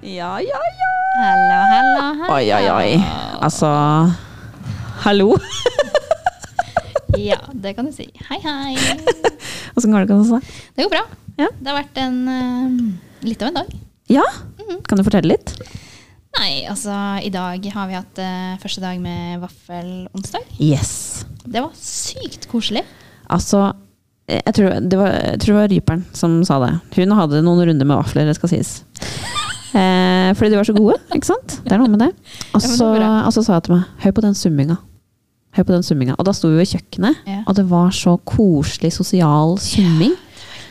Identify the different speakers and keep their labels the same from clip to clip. Speaker 1: Ja, ja, ja.
Speaker 2: Hallo, hallo, hallo.
Speaker 1: Oi, oi, oi. Altså Hallo.
Speaker 2: Ja, det kan du si. Hei, hei.
Speaker 1: Åssen går det med deg?
Speaker 2: Det går bra.
Speaker 1: Ja.
Speaker 2: Det har vært en eh, litt av en dag.
Speaker 1: Ja?
Speaker 2: Mhm.
Speaker 1: Kan du fortelle litt?
Speaker 2: Nei, altså i dag har vi hatt eh, første dag med vaffelonsdag.
Speaker 1: Yes.
Speaker 2: Det var sykt koselig.
Speaker 1: Altså, jeg tror det var, jeg tror det var Ryperen som sa det. Hun hadde noen runder med vafler, det skal sies. Eh, fordi de var så gode, ikke sant? Det er noe med det. Og
Speaker 2: Ja, men det
Speaker 1: så
Speaker 2: var bra.
Speaker 1: og så sa jeg til meg, hør på den summinga. Hør på den summinga. Og da sto vi ved kjøkkenet,
Speaker 2: Ja.
Speaker 1: og det var så koselig sosial summing.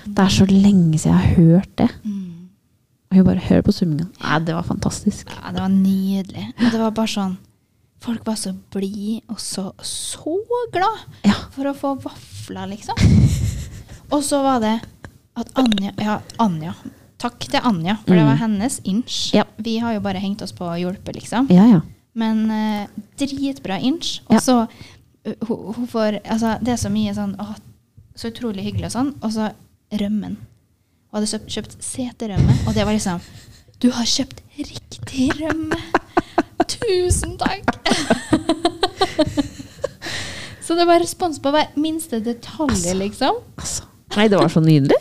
Speaker 1: Det er så lenge siden jeg har hørt det.
Speaker 2: Mm.
Speaker 1: Og hun bare hører på summinga. Nei, det var fantastisk.
Speaker 2: Ja, det var nydelig. Og det var bare sånn Folk var så blide og så, så glad
Speaker 1: Ja.
Speaker 2: for å få vafler, liksom. Og så var det at Anja Ja, Anja. Takk til Anja, for det var hennes inch.
Speaker 1: Mm. Ja.
Speaker 2: Vi har jo bare hengt oss på å hjelpe, liksom.
Speaker 1: Ja, ja.
Speaker 2: Men eh, dritbra inch.
Speaker 1: Ja.
Speaker 2: Og så eh, hun, hun får Altså, det er så mye sånn Å, så utrolig hyggelig og sånn. Og så rømmen. Hun hadde kjøpt, kjøpt seterømme, og det var liksom Du har kjøpt riktig rømme! Tusen takk! så det var respons på hver minste detalj,
Speaker 1: Altså.
Speaker 2: liksom.
Speaker 1: Altså. Nei, det var så nydelig.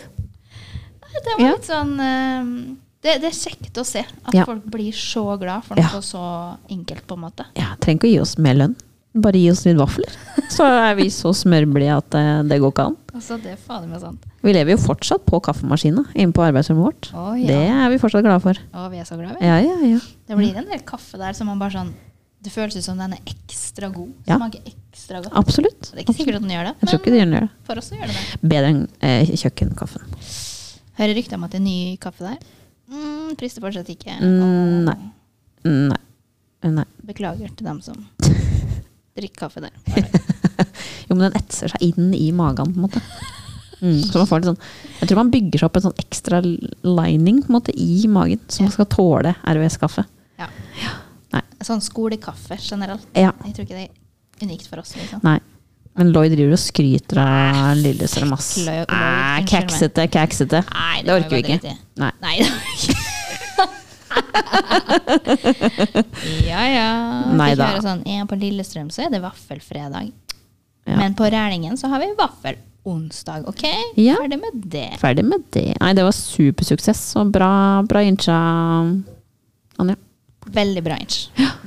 Speaker 2: Det var
Speaker 1: Ja.
Speaker 2: litt sånn eh, det, det er kjekt å se at
Speaker 1: Ja.
Speaker 2: folk blir så glad for
Speaker 1: Ja.
Speaker 2: noe så enkelt, på en måte.
Speaker 1: Ja, trenger ikke å gi oss mer lønn. Bare gi oss litt vafler. Så er vi så smørblide at det, det går ikke an.
Speaker 2: Altså, det er fader meg sant.
Speaker 1: Vi lever jo fortsatt på kaffemaskina inne på arbeidsrommet vårt.
Speaker 2: Å, ja.
Speaker 1: Det er vi fortsatt glade for.
Speaker 2: Å, vi er så glad vi.
Speaker 1: Ja, ja, ja.
Speaker 2: Det blir en del kaffe der som man bare sånn Det føles ut som den er ekstra god.
Speaker 1: Ja.
Speaker 2: Smaker ekstra godt.
Speaker 1: Absolutt.
Speaker 2: Det er ikke sikkert at den gjør det,
Speaker 1: Jeg tror ikke det gjør det.
Speaker 2: for oss så gjør det det.
Speaker 1: Bedre enn eh, kjøkkenkaffen.
Speaker 2: Hører rykter om at det er ny kaffe der. Mm, frister fortsatt ikke.
Speaker 1: Mm, nei. Nei. Eh, Nei.
Speaker 2: Beklager til dem som drikker kaffe der. Bare.
Speaker 1: Jo, men den etser seg inn i magen, på en måte. Mm, så man får litt sånn, jeg tror man bygger seg opp en sånn ekstra lining på en måte, i magen, som skal tåle RVS-kaffe.
Speaker 2: Ja.
Speaker 1: Nei.
Speaker 2: Sånn skolekaffe generelt.
Speaker 1: Ja.
Speaker 2: Jeg tror ikke det er unikt for oss. Liksom.
Speaker 1: Nei. Men Lloyd driver og skryter av Lillestrøm, ass.
Speaker 2: fuck Lloyd,
Speaker 1: Nei,
Speaker 2: unnskyld meg.
Speaker 1: Kaksete, kaksete.
Speaker 2: Nei,
Speaker 1: Det orker vi ikke. Nei.
Speaker 2: Nei, det orker vi ikke. ja, ja.
Speaker 1: Nei
Speaker 2: Fikk
Speaker 1: da.
Speaker 2: høre Sånn, ja, på Lillestrøm så er det vaffelfredag.
Speaker 1: Ja.
Speaker 2: Men på Rælingen så har vi vaffelonsdag, OK?
Speaker 1: Ja.
Speaker 2: Ferdig med det.
Speaker 1: Ferdig med det. Nei, det var supersuksess, og bra, bra innsja, Anja.
Speaker 2: Veldig bra, Inch.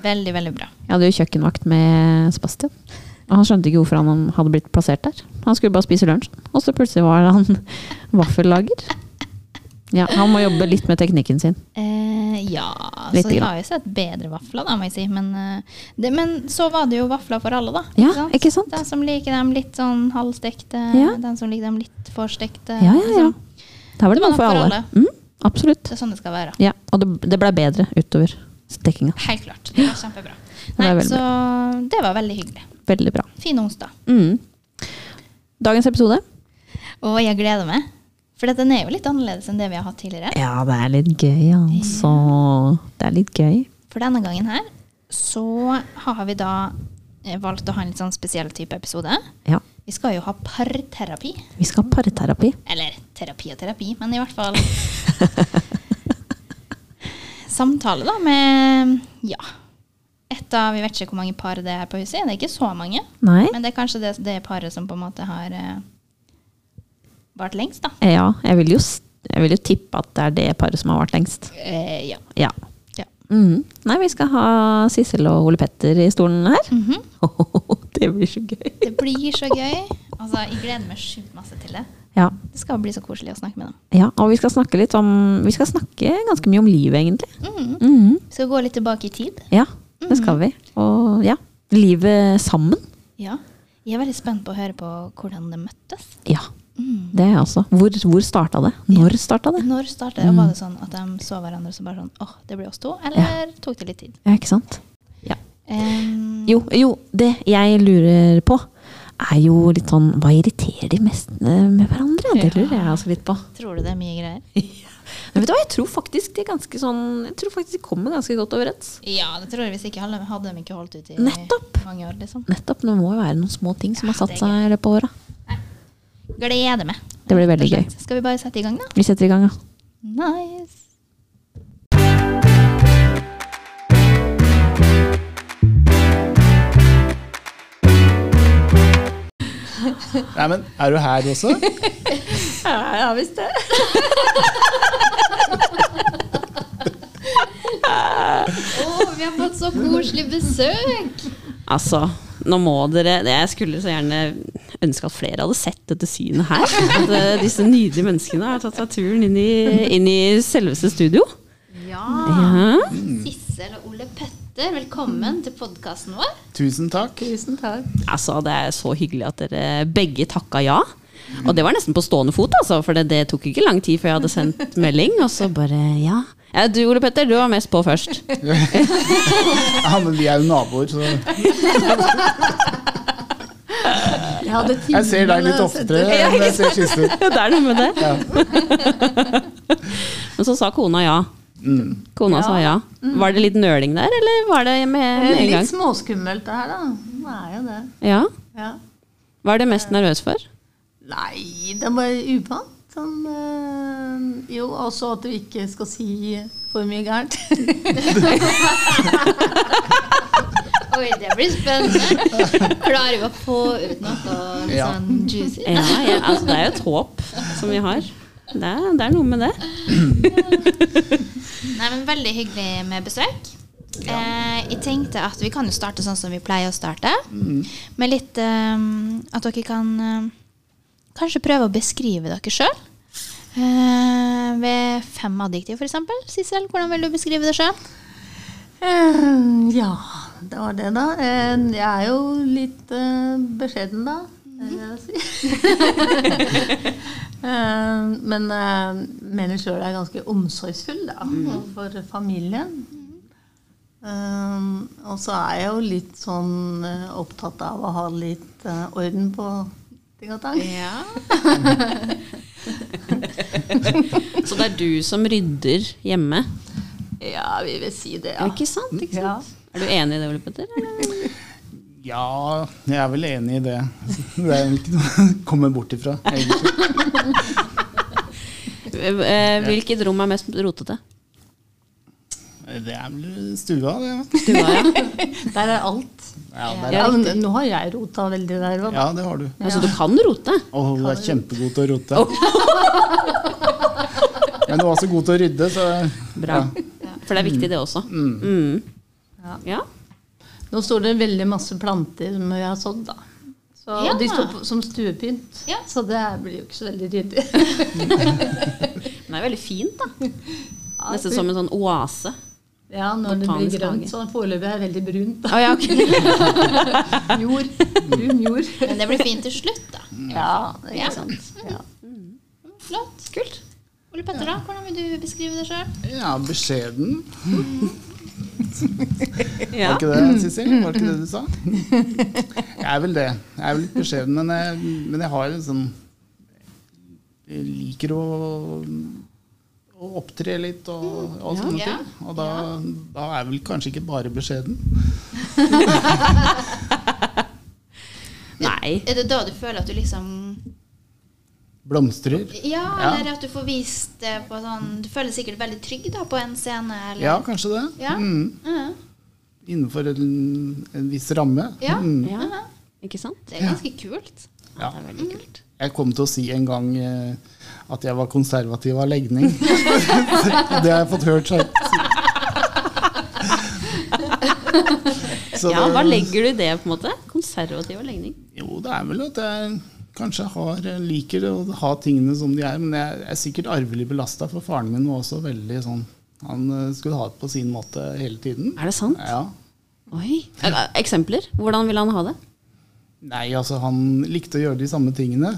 Speaker 2: Veldig, veldig bra.
Speaker 1: Jeg hadde jo kjøkkenvakt med Sebastian. Og han skjønte ikke hvorfor han hadde blitt plassert der. Han skulle bare spise lunsj, og så plutselig var han vaffellager. Ja, han må jobbe litt med teknikken sin.
Speaker 2: Eh, ja,
Speaker 1: Litt
Speaker 2: så de
Speaker 1: grann.
Speaker 2: har jo sett bedre vafler, da, må jeg si. Men, eh, det, men så var det jo vafler for alle, da.
Speaker 1: Ja, ikke sant?
Speaker 2: Den som liker dem litt sånn halvstekte,
Speaker 1: Ja.
Speaker 2: den som liker dem litt forstekte.
Speaker 1: Ja, ja, ja.
Speaker 2: liksom.
Speaker 1: Der var
Speaker 2: Det
Speaker 1: det noe for
Speaker 2: var nok for
Speaker 1: alle.
Speaker 2: alle.
Speaker 1: Mm, absolutt.
Speaker 2: Det er sånn det skal være.
Speaker 1: Ja, og det, det ble bedre utover stekinga.
Speaker 2: Helt klart. Det var kjempebra.
Speaker 1: Det
Speaker 2: Nei,
Speaker 1: er veldig
Speaker 2: så det var veldig hyggelig.
Speaker 1: Veldig bra.
Speaker 2: Fin onsdag.
Speaker 1: Mm. Dagens episode?
Speaker 2: Og jeg gleder meg. For den er jo litt annerledes enn det vi har hatt tidligere.
Speaker 1: Ja, det er litt gøy, altså. Det er litt gøy.
Speaker 2: For denne gangen her så har vi da eh, valgt å ha en litt sånn spesiell type episode.
Speaker 1: Ja.
Speaker 2: Vi skal jo ha parterapi.
Speaker 1: Vi skal ha parterapi.
Speaker 2: Eller terapi og terapi, men i hvert fall Samtale, da, med ja. Et av, Vi vet ikke hvor mange par det er på huset. Det er ikke så mange.
Speaker 1: Nei?
Speaker 2: Men det er kanskje det, det paret som på en måte har eh, vart lengst, da.
Speaker 1: Ja, jeg vil, jo, s- jeg vil jo tippe at det er det paret som har vært lengst.
Speaker 2: Eh, ja.
Speaker 1: Ja.
Speaker 2: Ja.
Speaker 1: Mhm. Nei, vi skal ha Sissel og Ole Petter i stolen her.
Speaker 2: Mhm.
Speaker 1: det blir så gøy.
Speaker 2: Det blir så gøy. Altså, Jeg gleder meg sjukt masse til det.
Speaker 1: Ja.
Speaker 2: Det skal bli så koselig å snakke med dem.
Speaker 1: ja, og vi skal snakke litt om Vi skal snakke ganske mye om livet, egentlig.
Speaker 2: Mhm.
Speaker 1: Mhm.
Speaker 2: Vi skal gå litt tilbake i tid.
Speaker 1: Ja, det skal vi. Og ja, livet sammen.
Speaker 2: Ja. Jeg er veldig spent på å høre på hvordan det møttes.
Speaker 1: Ja,
Speaker 2: Mm.
Speaker 1: det er jeg også. Hvor, hvor starta det? Når starta det?
Speaker 2: Når startet det? Var det sånn at de så hverandre som bare sånn åh, det blir oss to? Eller tok det litt tid?
Speaker 1: Ja, ikke sant?
Speaker 2: Mm. Em,
Speaker 1: Jo, jo, det jeg lurer på, er jo litt sånn Hva irriterer de mest eh, med hverandre? Det
Speaker 2: Ja.
Speaker 1: lurer jeg også litt på.
Speaker 2: Tror du det er mye greier?
Speaker 1: Men vet du hva, jeg tror faktisk de er ganske sånn Jeg tror faktisk de kommer ganske godt overens.
Speaker 2: Ja, det tror jeg hvis ikke hadde hadde de ikke holdt ut i
Speaker 1: Nettopp.
Speaker 2: mange år, liksom.
Speaker 1: Nettopp. Det må jo være noen små ting som har satt
Speaker 2: det er
Speaker 1: seg i løpet av åra.
Speaker 2: Gleder meg.
Speaker 1: Det blir
Speaker 2: Rett og
Speaker 1: veldig gøy.
Speaker 2: slett. Skal vi bare sette i gang, da?
Speaker 1: Vi setter i gang, da.
Speaker 2: Nice.
Speaker 3: Nei, men er du her også?
Speaker 1: Ja, ja visst det.
Speaker 4: vi har fått så koselig besøk!
Speaker 1: Altså, nå må dere Jeg skulle så gjerne ønske at flere hadde sett dette synet her. At eh, disse nydelige menneskene har tatt seg turen inn i, inn i selveste studio.
Speaker 4: Ja.
Speaker 1: Ja.
Speaker 4: Sissel og Ole Petter, velkommen til podkasten vår.
Speaker 3: Tusen takk.
Speaker 4: Tusen takk.
Speaker 1: Altså, det er så hyggelig at dere begge takka ja. Og det var nesten på stående fot, altså, for det, det tok ikke lang tid før jeg hadde sendt melding. Og så bare ja. ja du Ole Petter, du var mest på først.
Speaker 3: Ja, men vi er jo naboer, så
Speaker 4: Jeg hadde
Speaker 3: jeg ser deg litt oftere enn jeg ser Kirsten.
Speaker 1: Ja, det er noe med det.
Speaker 3: Ja.
Speaker 1: Men så sa kona ja.
Speaker 3: Mm.
Speaker 1: Kona sa ja. Mm. Eh, Var det litt nøling der, eller var det med, med en
Speaker 5: Litt
Speaker 1: gang?
Speaker 5: småskummelt det her, da. Det er jo det.
Speaker 1: Ja.
Speaker 5: Ja.
Speaker 1: Hva er du mest nervøs for?
Speaker 5: Nei, det er bare uvant. Sånn, eh, jo, også at du ikke skal si for mye gærent.
Speaker 4: Oi, det blir spennende. Klarer vi å få ut noe
Speaker 3: Ja.
Speaker 4: sånn juicy?
Speaker 1: Ja, ja, altså, det er jo et håp som vi har. Det er, det er noe med det.
Speaker 2: Nei, men Veldig hyggelig med besøk. Eh, jeg tenkte at Vi kan jo starte sånn som vi pleier å starte.
Speaker 4: Mm.
Speaker 2: Med litt eh, at dere kan eh, kanskje prøve å beskrive dere sjøl. Eh, ved fem adjektiv, f.eks. Sissel, hvordan vil du beskrive det sjøl?
Speaker 5: Eh, ja, det var det, da. Eh, jeg er jo litt eh, beskjeden, da. Det vil jeg si. Eh, men uh, mener sjøl jeg er ganske omsorgsfull da,
Speaker 1: Mhm.
Speaker 5: for familien. Eh, og så er jeg jo litt sånn eh, opptatt av å ha litt eh, orden på ting og tang.
Speaker 4: Ja.
Speaker 1: Så det er du som rydder hjemme.
Speaker 5: Ja, vi vil si det,
Speaker 1: Ja.
Speaker 5: ja.
Speaker 1: Ikke sant? Ikke
Speaker 5: Ja.
Speaker 1: sant? Er du enig i det, Ole Petter? eller?
Speaker 3: ja, jeg er vel enig i det. Det er jo ikke noe å komme bort ifra, egentlig.
Speaker 1: Eh, Hvilket rom er mest rotete?
Speaker 3: Det er vel stua, det.
Speaker 1: Stua, ja.
Speaker 5: Der er alt.
Speaker 3: Ja, der.
Speaker 5: Ja, men nå har jeg rota veldig der òg, da.
Speaker 3: ja det har du.
Speaker 1: Altså, du kan rote.
Speaker 3: Og hun er kjempegod til å rote. Men hun er også god til å rydde, så
Speaker 1: Bra. For det er viktig, det også. Mm.
Speaker 5: Ja.
Speaker 1: Ja.
Speaker 5: Nå står det veldig masse planter som jeg har sådd, da. Så,
Speaker 4: Ja.
Speaker 5: Og de står på, som stuepynt,
Speaker 4: Ja.
Speaker 5: så det blir jo ikke så veldig ryddig.
Speaker 1: Men det er veldig fint, da. Nesten som en sånn oase.
Speaker 5: Ja, når det blir
Speaker 1: Botanisk
Speaker 5: grønt,
Speaker 1: hage.
Speaker 5: så foreløpig er det veldig brunt.
Speaker 1: Å, Ah, ja, ok.
Speaker 5: Da. Jord. Brun jord.
Speaker 4: Men det blir fint til slutt, da.
Speaker 5: Ja, det er
Speaker 4: Ja. Mm.
Speaker 5: ikke sant. Ja.
Speaker 4: Flott. Kult. Ole Petter, da, hvordan vil du beskrive det sjøl?
Speaker 3: ja, beskjeden.
Speaker 1: ja.
Speaker 3: Var ikke det, Sissel? Var ikke det du sa? Jeg er vel det. Jeg er vel litt beskjeden, men jeg, men jeg har en sånn Jeg liker å, å opptre litt og, og sånne
Speaker 4: Mm. Ja.
Speaker 3: ting. Og da, da er jeg vel kanskje ikke bare beskjeden.
Speaker 1: Nei.
Speaker 4: Er det da du føler at du liksom
Speaker 3: Blomstrer.
Speaker 4: Ja,
Speaker 3: Ja.
Speaker 4: eller at du får vist det på sånn Du føler deg sikkert veldig trygg da på en scene, eller
Speaker 3: Ja, kanskje det.
Speaker 4: Ja.
Speaker 3: Mm.
Speaker 4: Mhm.
Speaker 3: Innenfor en, en viss ramme.
Speaker 4: Ja.
Speaker 3: Mm.
Speaker 1: Ja.
Speaker 4: Mhm.
Speaker 1: Ikke sant?
Speaker 4: Det er ganske kult.
Speaker 3: Ja.
Speaker 1: Det er veldig kult.
Speaker 3: Jeg kom til å si en gang eh, at jeg var konservativ av legning. det har jeg fått hørt så Så
Speaker 1: Ja,
Speaker 3: det-
Speaker 1: hva legger du i det, på en måte? Konservativ legning.
Speaker 3: Jo, det er vel at jeg kanskje har, eh, liker å ha tingene som de er. Men jeg er sikkert arvelig belasta, for faren min var også veldig sånn Han eh, skulle ha det på sin måte hele tiden.
Speaker 1: Er det sant?
Speaker 3: Ja.
Speaker 1: Oi. Eh, Eksempler? Hvordan vil han ha det?
Speaker 3: Nei, altså han likte å gjøre de samme tingene.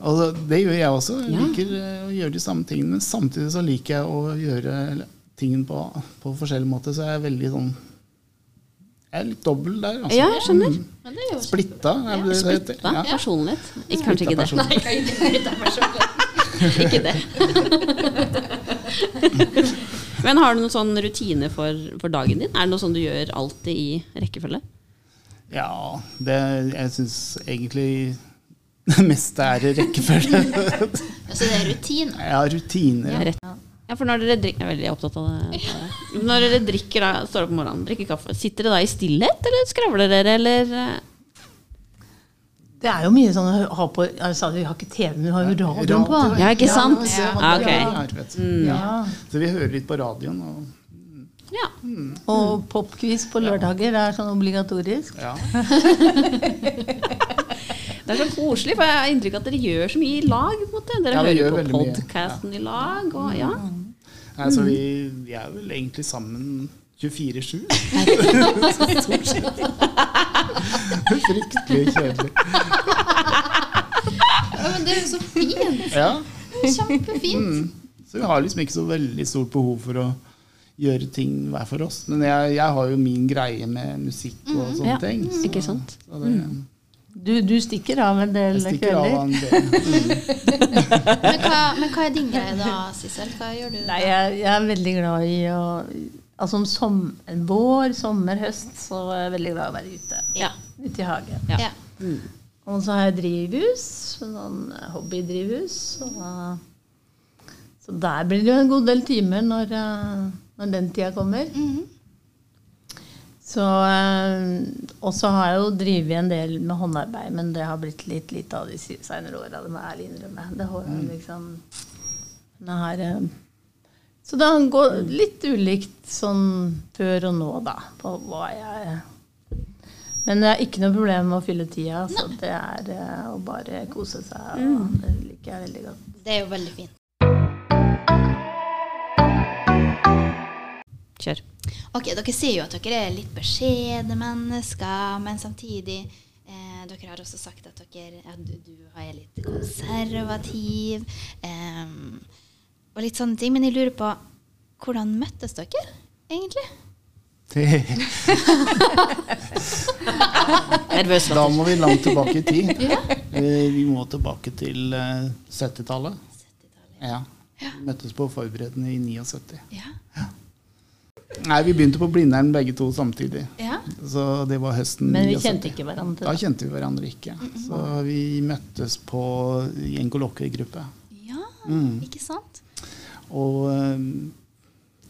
Speaker 3: Og det- det gjør jeg også. Jeg
Speaker 1: Ja.
Speaker 3: liker eh, å gjøre de samme tingene. Men samtidig så liker jeg å gjøre tingene på, på forskjellig måte. Så jeg er veldig sånn Jeg er litt dobbel der. Altså.
Speaker 1: Ja, jeg skjønner.
Speaker 4: Men det er jo
Speaker 3: Splitta, er det det heter.
Speaker 1: Da,
Speaker 3: Ja.
Speaker 1: personlighet. Ikke, kanskje ikke det.
Speaker 3: Splitta
Speaker 1: Nei, ikke det. Men har du noen sånn rutine for, for dagen din? Er det noe sånn du gjør alltid i rekkefølge?
Speaker 3: Ja, det, jeg syns egentlig det meste er i rekkefølge.
Speaker 4: Så det er rutin.
Speaker 3: Jeg har rutiner.
Speaker 1: Rett. Ja, for når dere drikker Jeg er veldig opptatt av det. Når dere drikker, da, står opp om morgenen, drikker kaffe, sitter dere da i stillhet, eller skravler dere, eller eh,
Speaker 5: Det er jo mye sånn å ha på Jeg sa vi har ikke TV, men vi har jo radioen på.
Speaker 1: Ja, ikke sant?
Speaker 3: det
Speaker 1: Ja,
Speaker 3: var det
Speaker 1: ok. Mm.
Speaker 3: jeg har hørt.
Speaker 5: Ja.
Speaker 3: Så vi hører litt på radioen. Og,
Speaker 1: Ja.
Speaker 5: Og popquiz på lørdager er sånn obligatorisk.
Speaker 3: ja.
Speaker 1: Det er så koselig, for jeg har inntrykk av at dere gjør så mye i lag. på en måte. Dere
Speaker 3: Ja, vi gjør
Speaker 1: hører
Speaker 3: veldig
Speaker 1: på
Speaker 3: mye.
Speaker 1: podkasten i lag. Og, ja.
Speaker 3: Nei, så vi, vi er vel egentlig sammen 24-7. Stort sett. Fryktelig kjedelig.
Speaker 4: Ja, men det er jo så fint.
Speaker 3: Ja.
Speaker 4: Kjempefint.
Speaker 3: Mm. Så vi har liksom ikke så veldig stort behov for å gjøre ting hver for oss. Men jeg, jeg har jo min greie med musikk og sånne
Speaker 1: Ja,
Speaker 3: ting. Så,
Speaker 1: ikke sant?
Speaker 3: så det,
Speaker 5: Du, du stikker av en del
Speaker 3: jeg stikker av
Speaker 5: kvelder.
Speaker 3: en del.
Speaker 4: Men hva, men hva er din greie da, Sissel? Hva gjør du?
Speaker 5: Nei, jeg, jeg er veldig glad i å Altså om som, vår, sommer, høst, så er jeg veldig glad i å være ute.
Speaker 1: Ja.
Speaker 5: Ute i hagen.
Speaker 1: Ja.
Speaker 4: Ja.
Speaker 5: Og så har jeg drivhus, sånn hobbydrivhus. Og, da- så der blir det jo en god del timer når, eh, når den tida kommer. Så, eh, og så har jeg jo drevet en del med håndarbeid, men det har blitt litt lite av de si- senere åra. Det må jeg ærlig innrømme. Det har jeg liksom men jeg har, eh, Så det går litt ulikt sånn før og nå, da, på hva jeg men det er ikke noe problem med å fylle tida. Så det er eh, å bare kose seg. Og
Speaker 3: Mm.
Speaker 5: Det liker jeg veldig godt.
Speaker 4: Det er jo veldig fint.
Speaker 1: Kjør.
Speaker 4: Ok, Dere sier jo at dere er litt beskjedne mennesker, men samtidig eh, Dere har også sagt at dere ja, du, du er litt konservativ eh, og litt sånne ting. Men jeg lurer på hvordan møttes dere egentlig?
Speaker 3: Det,
Speaker 1: Nervøs.
Speaker 3: da må vi langt tilbake i tid. Eh, Vi må tilbake til eh, 70-tallet. Ja. Møttes på forberedende i 79.
Speaker 4: Ja.
Speaker 3: Nei, vi begynte på Blindern begge to samtidig.
Speaker 4: ja.
Speaker 3: Så det var høsten
Speaker 5: Men vi
Speaker 3: 79.
Speaker 5: kjente ikke hverandre. Mm,
Speaker 3: Da kjente vi hverandre ikke. Så vi møttes på, i en kollokviegruppe.
Speaker 4: Ja, ikke sant?
Speaker 3: Og eh,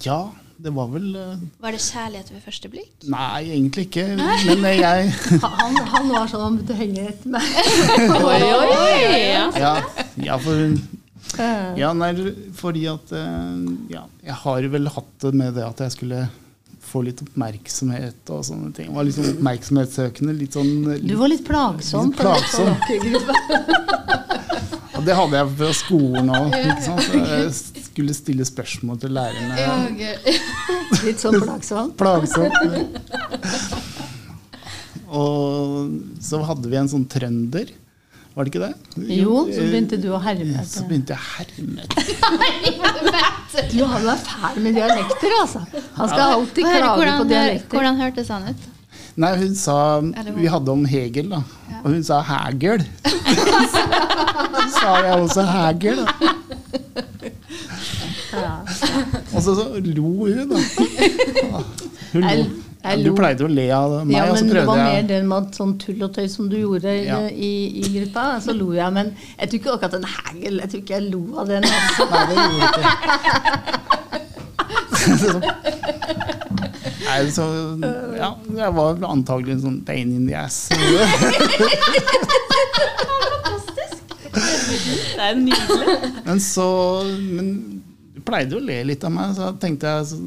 Speaker 3: ja, det var vel eh,
Speaker 4: Var det kjærlighet ved første blikk?
Speaker 3: Nei, egentlig ikke. Men eh, jeg
Speaker 5: Han, han var sånn han måtte henge etter meg.
Speaker 1: Oi, oi, oi. Ja.
Speaker 3: Ja, ja, for,
Speaker 5: Eh,
Speaker 3: ja nei, fordi at eh, ja, Jeg har vel hatt det med det at jeg skulle få litt oppmerksomhet og sånne ting. Var liksom oppmerksomhetssøkende. Litt sånn
Speaker 5: Du var litt plagsom.
Speaker 3: Litt plagsom. Og det hadde jeg fra skolen òg. Så jeg skulle stille spørsmål til lærerne.
Speaker 5: Litt sånn plagsom.
Speaker 3: Plagsomt. Og så hadde vi en sånn trønder, var det ikke det?
Speaker 5: Jo, så begynte du å herme.
Speaker 3: eh, Så
Speaker 5: etter.
Speaker 3: begynte jeg herme etter.
Speaker 5: Du han er fæl med dialekter, altså. Han skal alltid
Speaker 4: Hør,
Speaker 5: klage på
Speaker 4: hvordan,
Speaker 5: dialekter.
Speaker 4: hvordan hørtes han ut?
Speaker 3: Nei, hun sa Vi hadde om Hegel, da. Og hun sa Hægel. Så sa jeg også Hægel, da. Og så, så lo hun, da. Hun lo.
Speaker 5: Jeg-
Speaker 3: Ja,
Speaker 5: jeg
Speaker 3: du
Speaker 5: lo.
Speaker 3: pleide å le av meg,
Speaker 5: Ja,
Speaker 3: og så
Speaker 5: men det
Speaker 3: prøvde
Speaker 5: var mer
Speaker 3: jeg
Speaker 5: den med at sånn tull og tøy som du gjorde i-
Speaker 3: Ja.
Speaker 5: i, i gruppa. Så lo jeg, men jeg tror ikke akkurat den hagel Jeg tror ikke jeg lo av den. Altså.
Speaker 3: Nei, det gjorde jeg ikke. Nei, så Ja, jeg var vel antagelig en sånn pain in the ass.
Speaker 1: Det er nydelig.
Speaker 3: Men så Men du pleide jo å le litt av meg, så da tenkte jeg så,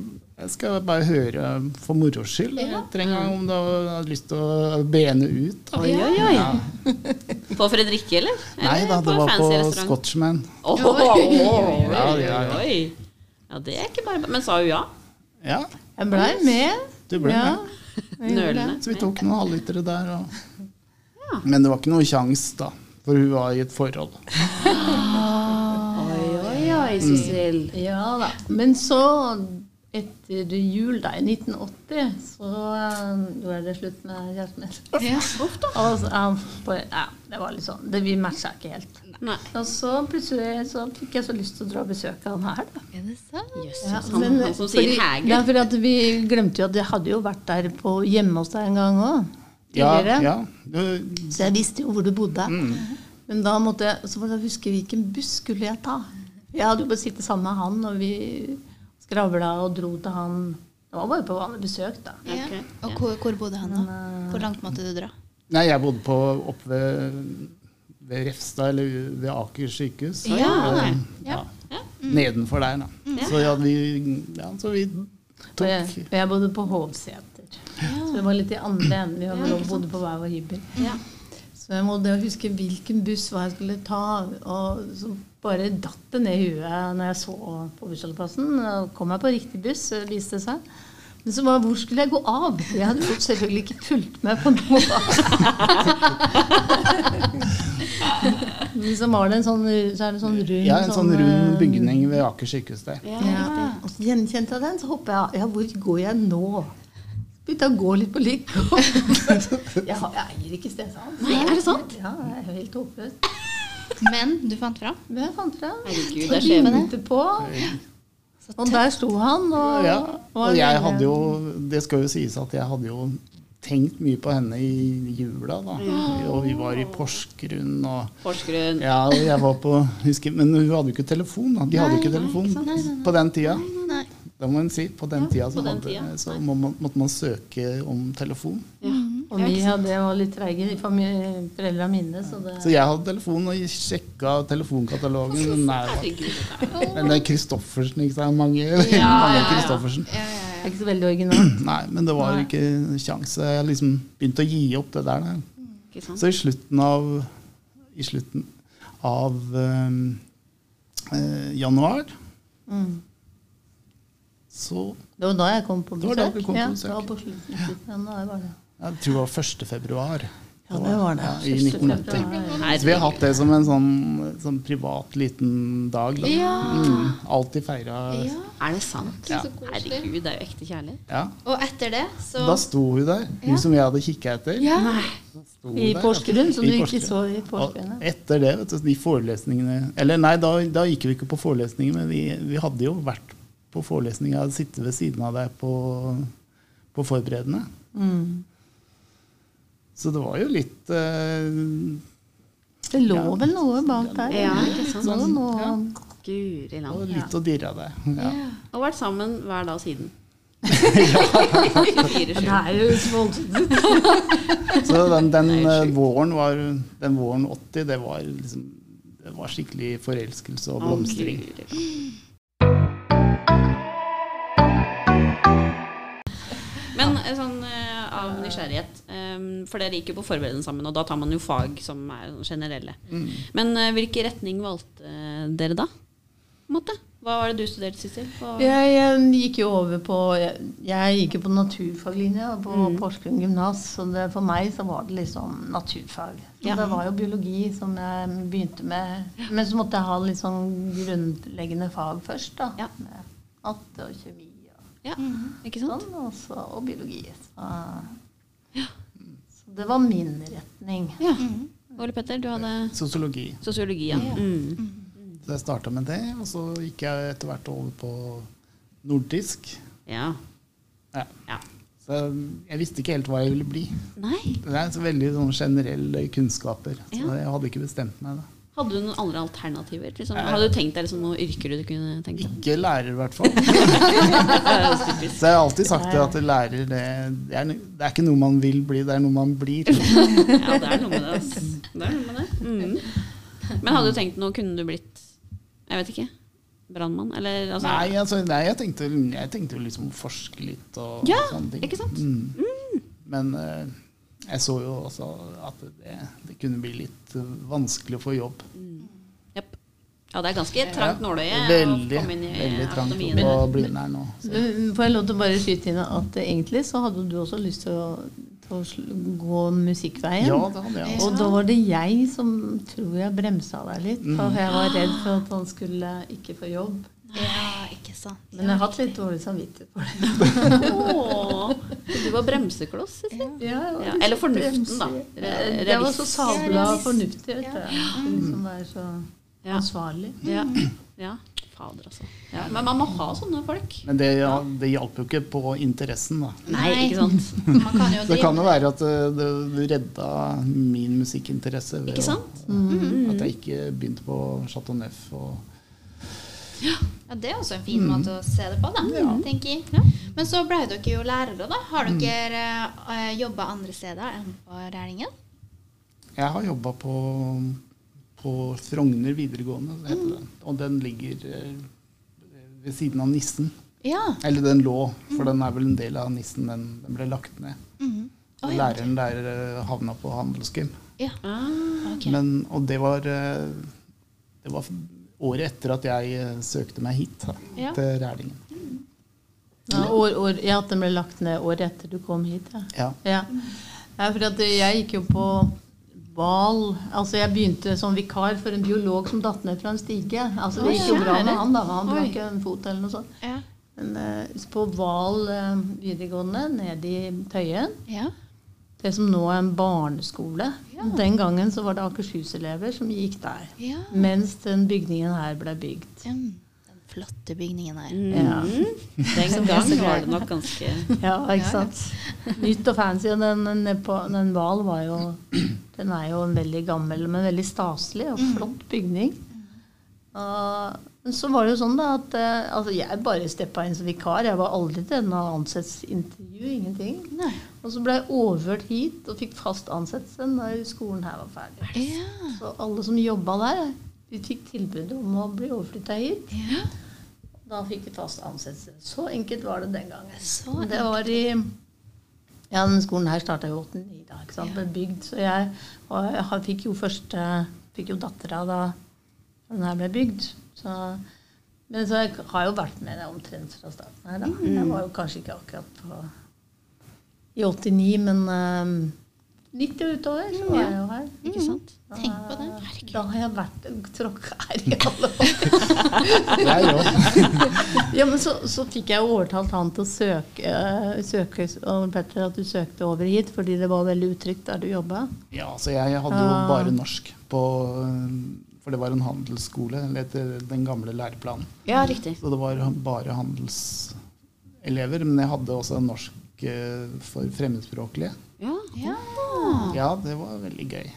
Speaker 3: jeg skal bare høre for moro skyld. Jeg trenger om du har lyst til å bene ut. Da.
Speaker 1: Oi, oi, oi.
Speaker 3: Ja.
Speaker 1: På Fredrikke, eller?
Speaker 3: Nei da, det var på Scotchman.
Speaker 1: Oi, oi,
Speaker 3: Ja, ja,
Speaker 1: oi,
Speaker 3: ja.
Speaker 1: oi. Ja, det er ikke bare Men sa hun ja?
Speaker 3: Ja,
Speaker 5: Jeg blei med.
Speaker 3: du ble
Speaker 5: ja.
Speaker 3: med.
Speaker 1: Nølende.
Speaker 3: Så vi tok noen halvlitere der. Og... Men det var ikke noe sjans da, for hun var i et forhold.
Speaker 1: Oi, oi, oi, Sissel.
Speaker 5: Ja da. Men så, etter jul da, i 1980, så eh, gjorde jeg det slutt med kjæresten min. Og så, han bare- ja, det var litt sånn, det, vi matcha ikke helt.
Speaker 1: Nei,
Speaker 5: Og så plutselig så fikk jeg så lyst til å dra og besøke han her, da.
Speaker 1: jøsses.
Speaker 5: Ja,
Speaker 1: han,
Speaker 5: men-
Speaker 1: han som sier
Speaker 5: fordi-
Speaker 1: Hæger.
Speaker 5: Ja, for at vi glemte jo at jeg hadde jo vært der på hjemme hos deg en gang òg.
Speaker 3: Ja, ja. Du,
Speaker 5: Så jeg visste jo hvor du bodde. Men da måtte jeg, så måtte jeg huske hvilken buss skulle jeg ta. Jeg hadde jo bare sittet sammen med han, og vi skravla og dro til han. Det var bare på vanlig besøk, da.
Speaker 1: Ok.
Speaker 5: eh,
Speaker 4: Og hvor, hvor bodde han da? Hvor langt måtte du dra?
Speaker 3: Nei, jeg bodde på, oppe ved, ved Refstad, eller ved Aker sykehus.
Speaker 1: Ja,
Speaker 3: Eh,
Speaker 1: nei.
Speaker 3: ja. Nedenfor der, da. Så, ja, vi, ja, så vi
Speaker 5: Og jeg,
Speaker 3: tok
Speaker 5: og jeg bodde på Hovseter. Så det var litt i andre enden. Vi var, bodde på hver vår hybel.
Speaker 4: Ja.
Speaker 5: Så jeg måtte huske hvilken buss hva jeg skulle ta. Og så bare datt det ned i huet når jeg så på bussholdeplassen. Og kom jeg på riktig buss, viste det seg. Men så var hvor skulle jeg gå av? Jeg hadde jo selvfølgelig ikke fulgt med på noe. Men så var det en sånn, så er det en sånn rund
Speaker 3: ja, en sånn rund
Speaker 5: eh,
Speaker 3: bygning ved Aker sykehus der.
Speaker 5: ja. Og så gjenkjente jeg den, så hoppa jeg av. Ja, hvor går jeg nå? Begynte å gå litt på lik. jeg, har- jeg eier ikke stedsans.
Speaker 4: Nei, er det sant?
Speaker 5: Ja, det er helt håpløst.
Speaker 2: Men du fant fram?
Speaker 5: Men jeg fant fram.
Speaker 6: Herregud, det er skjebne.
Speaker 5: Ringte på, og der sto han. Og,
Speaker 3: Ja,
Speaker 5: var
Speaker 3: og jeg
Speaker 5: veldig-
Speaker 3: hadde jo Det skal jo sies at jeg hadde jo tenkt mye på henne i jula, da. Og vi var i Porsgrunn og
Speaker 6: Porsgrunn.
Speaker 3: Ja, og jeg var på husker, Men hun hadde jo ikke telefon, da. De hadde jo ikke telefon på den tida. Da må hun si. På den tida så,
Speaker 6: på den
Speaker 3: hadde,
Speaker 6: tida.
Speaker 3: så må man, måtte man søke om telefon.
Speaker 5: Og vi hadde, var litt treige, i famil- foreldra mine, så det
Speaker 3: Så jeg hadde telefon og sjekka telefonkatalogen. men Nei,
Speaker 6: Herregud.
Speaker 3: men det er Christoffersen, ikke sant. Mange, mange Christoffersen.
Speaker 5: det er ikke så veldig originalt.
Speaker 3: Nei, men det var ikke kjangs. Jeg liksom begynte å gi opp det der. da.
Speaker 6: Ikke sant?
Speaker 3: Så i slutten av I slutten av ehm, eh, januar så
Speaker 5: Det var da jeg kom på
Speaker 3: Det var da
Speaker 5: besøk.
Speaker 3: du kom på
Speaker 5: ja,
Speaker 3: besøk.
Speaker 5: det var på slutten, slutten av januar var det.
Speaker 3: Jeg tror det var 1. februar.
Speaker 5: Ja, det var det.
Speaker 3: Ja, I
Speaker 5: 1.
Speaker 3: 1980.
Speaker 5: februar.
Speaker 3: Så vi har hatt det som en sånn, sånn privat liten dag. Da. Mm, alltid feira ja.
Speaker 6: Er det sant?
Speaker 3: Ja.
Speaker 6: Herregud, det er jo ekte kjærlighet.
Speaker 2: Og etter det så
Speaker 3: Da sto hun der, hun som jeg hadde kikka etter. Sto hun
Speaker 5: I
Speaker 3: der,
Speaker 5: Porsgrunn,
Speaker 3: altså.
Speaker 5: som
Speaker 3: I
Speaker 5: du ikke
Speaker 3: Porsgrunn.
Speaker 5: så i
Speaker 3: Og
Speaker 5: Porsgrunn. ja.
Speaker 3: etter det, vet du, de forelesningene Eller nei, da, da gikk vi ikke på forelesninger, men vi, vi hadde jo vært på forelesning. Jeg hadde sittet ved siden av deg på, på forberedende.
Speaker 5: Mm.
Speaker 3: Så det var jo litt eh,
Speaker 5: Det lå vel noe bak der.
Speaker 6: Ja, ikke
Speaker 5: Så
Speaker 6: sant?
Speaker 5: Sånn nå,
Speaker 6: Guri
Speaker 3: det var
Speaker 6: land.
Speaker 3: litt å dirre av deg. Ja.
Speaker 6: Og vært sammen hver dag siden. Fire, sju.
Speaker 5: det er jo voldsomt.
Speaker 3: Så den, den eh, våren var Den våren 80, det var liksom det var skikkelig forelskelse og blomstring.
Speaker 6: Å, guri land. Men eh, sånn eh, av nysgjerrighet, eh, for dere gikk jo på forberedende sammen, og da tar man jo fag som er sånn generelle.
Speaker 3: Mm.
Speaker 6: Men eh, hvilken retning valgte eh, dere da? På en måte? Hva var det du studerte, Sissel? Hva-
Speaker 5: Jeg, eh, gikk jo over på Jeg, jeg gikk jo på naturfaglinja på Porsgrunn gymnas, så det, for meg så var det liksom naturfag. Så Det var jo biologi som jeg begynte med. Men så måtte jeg ha litt sånn grunnleggende fag først, da.
Speaker 6: Ja.
Speaker 5: Med matte og kjemi og
Speaker 6: Ja, ikke sant?
Speaker 5: sånn, og, så, og biologi. Så, så det var min retning.
Speaker 6: Ja. Mhm. Ole Petter, du hadde
Speaker 3: Sosiologi.
Speaker 6: sosiologi, ja. Mm.
Speaker 3: Så jeg starta med det, og så gikk jeg etter hvert over på nordisk.
Speaker 6: Ja.
Speaker 3: Ja.
Speaker 6: ja.
Speaker 3: Så jeg visste ikke helt hva jeg ville bli.
Speaker 6: Nei.
Speaker 3: Det er så veldig sånn generelle kunnskaper. Så
Speaker 6: Ja.
Speaker 3: jeg hadde ikke bestemt meg. da.
Speaker 6: Hadde du noen andre alternativer? Liksom? Hadde du tenkt deg liksom, noen yrker du kunne tenkt deg?
Speaker 3: Ikke lærer, i hvert fall. så jeg har alltid sagt det at lærer, det, det, er, no- det er ikke noe man vil bli, det er noe man blir.
Speaker 6: Ja, det er noe med det. ass. Det er noe med det. Mm. Men hadde du tenkt noe, kunne du blitt Jeg vet ikke. Brannmann? Eller altså
Speaker 3: Nei, altså, nei jeg tenkte jeg tenkte jo liksom forske litt og
Speaker 6: Ja,
Speaker 3: sånne ting. Mm.
Speaker 6: ikke sant? Mm.
Speaker 3: Men eh, jeg så jo også at det, det kunne bli litt eh, vanskelig å få jobb.
Speaker 6: Japp. Mm. Ja, det er ganske trangt nåløye
Speaker 3: Veldig,
Speaker 6: å komme inn i
Speaker 3: veldig trangt
Speaker 6: akademiet.
Speaker 3: på Blindern nå.
Speaker 6: Mm.
Speaker 5: Du, Får jeg lov til å bare skyte inn at egentlig så hadde du også lyst til å, til å sl- gå musikkveien.
Speaker 3: Ja, det hadde jeg. altså.
Speaker 5: Og da var det jeg som tror jeg bremsa deg litt.
Speaker 6: Mm.
Speaker 5: For jeg var
Speaker 6: Ah.
Speaker 5: redd for at han skulle ikke få jobb.
Speaker 2: Ja, ikke sant.
Speaker 5: Men jeg har hatt litt dårlig samvittighet for det.
Speaker 6: Åh, Du var bremsekloss, Sissel. Ja, eller fornuften, da. Re-
Speaker 5: Jeg var så
Speaker 6: realist.
Speaker 5: sabla fornuftig, vet du. Skulle Liksom være så
Speaker 6: Mm. Ja.
Speaker 5: ansvarlig.
Speaker 6: Ja. ja. Fader, altså. Ja. Men man må ha sånne folk.
Speaker 3: Men det, ja, det hjalp jo ikke på interessen, da.
Speaker 6: Nei, ikke sant?
Speaker 2: Man kan jo
Speaker 3: Så det
Speaker 2: drive
Speaker 3: kan jo være at eh, det, du redda min musikkinteresse ved
Speaker 6: Ikke sant?
Speaker 3: Å, at jeg ikke begynte på Chateau Neuf og
Speaker 4: Ja, det er også en fin måte å se det på, da, tenker jeg. Men så ble dere jo lærere, da. Har dere mm. jobba andre steder enn på Rælingen?
Speaker 3: Jeg har jobba på, på Frogner videregående, så
Speaker 4: Mm.
Speaker 3: heter den. Og den ligger eh, ved siden av Nissen.
Speaker 4: Ja.
Speaker 3: Eller den lå,
Speaker 4: Mm.
Speaker 3: for den er vel en del av Nissen. Den, den ble lagt ned.
Speaker 4: Mhm. Å, ja.
Speaker 3: Læreren der eh, havna på handelsgym.
Speaker 4: ja. Ok.
Speaker 3: Men, og det var, eh, det var året etter at jeg eh, søkte meg hit, da,
Speaker 4: Ja.
Speaker 3: til Rælingen.
Speaker 5: Ja, år, år, ja, at den ble lagt ned året etter du kom hit. Ja.
Speaker 3: Ja.
Speaker 5: Ja.
Speaker 6: Mm.
Speaker 5: Nei, for at jeg gikk jo på Val. Altså, jeg begynte som vikar for en biolog som datt ned fra en stige. Altså, det gikk jo bra med han, da. Han
Speaker 4: Oi.
Speaker 5: brakk en fot eller noe sånt.
Speaker 4: Ja.
Speaker 5: Men eh, på Val eh, videregående, nede i Tøyen,
Speaker 4: Ja.
Speaker 5: det som nå er en barneskole Den gangen så var det Akershus-elever som gikk der.
Speaker 4: ja.
Speaker 5: Mens den bygningen her ble bygd.
Speaker 4: Mm. Den flotte bygningen her.
Speaker 6: Mm.
Speaker 5: Ja.
Speaker 6: Den gang var det nok ganske
Speaker 5: Ja, ikke sant. Nytt og fancy. Og den, den, ned på- den Val var jo Den er jo en veldig gammel, men veldig staselig og flott bygning. Og så var det jo sånn da at eh, altså jeg bare steppa inn som vikar. Jeg var aldri til noe ansettelseintervju. Ingenting.
Speaker 4: Nei.
Speaker 5: Og så ble jeg overført hit og fikk fast ansettelse når skolen her var ferdig.
Speaker 4: Ja.
Speaker 5: Så alle som jobba der, de fikk tilbud om å bli overflytta hit.
Speaker 4: ja.
Speaker 5: Da fikk vi fast ansettelse. Så enkelt var det den gangen.
Speaker 4: Så
Speaker 5: det var i Ja, den skolen her starta jo 89, da. ikke sant? Ble bygd. Så jeg, og jeg har- fikk jo første Fikk jo dattera da den her ble bygd. Så, men så jeg har jo vært med deg omtrent fra starten her, da.
Speaker 4: Mm.
Speaker 5: Jeg var jo kanskje ikke akkurat på i 89, men ehm, 90 og utover så var jeg jo her.
Speaker 6: Ikke sant?
Speaker 4: Mm,
Speaker 1: Mm.
Speaker 4: Tenk på det.
Speaker 5: Da har jeg vært tråkka her i alle år.
Speaker 3: Jeg òg.
Speaker 5: Ja, men så, så fikk jeg jo overtalt han til å søke, eh, søke og Petter, at du søkte over hit, fordi det var veldig utrygt der du jobba.
Speaker 3: Ja, så jeg hadde jo
Speaker 5: Ah.
Speaker 3: bare norsk på eh, For det var en handelsskole eller etter den gamle læreplanen.
Speaker 6: Ja, riktig.
Speaker 3: Så det var bare handelselever. Men jeg hadde også norsk eh, for fremmedspråklige.
Speaker 6: Ja. sånn
Speaker 4: Ja.
Speaker 6: Ah.
Speaker 3: Ja, det var veldig gøy.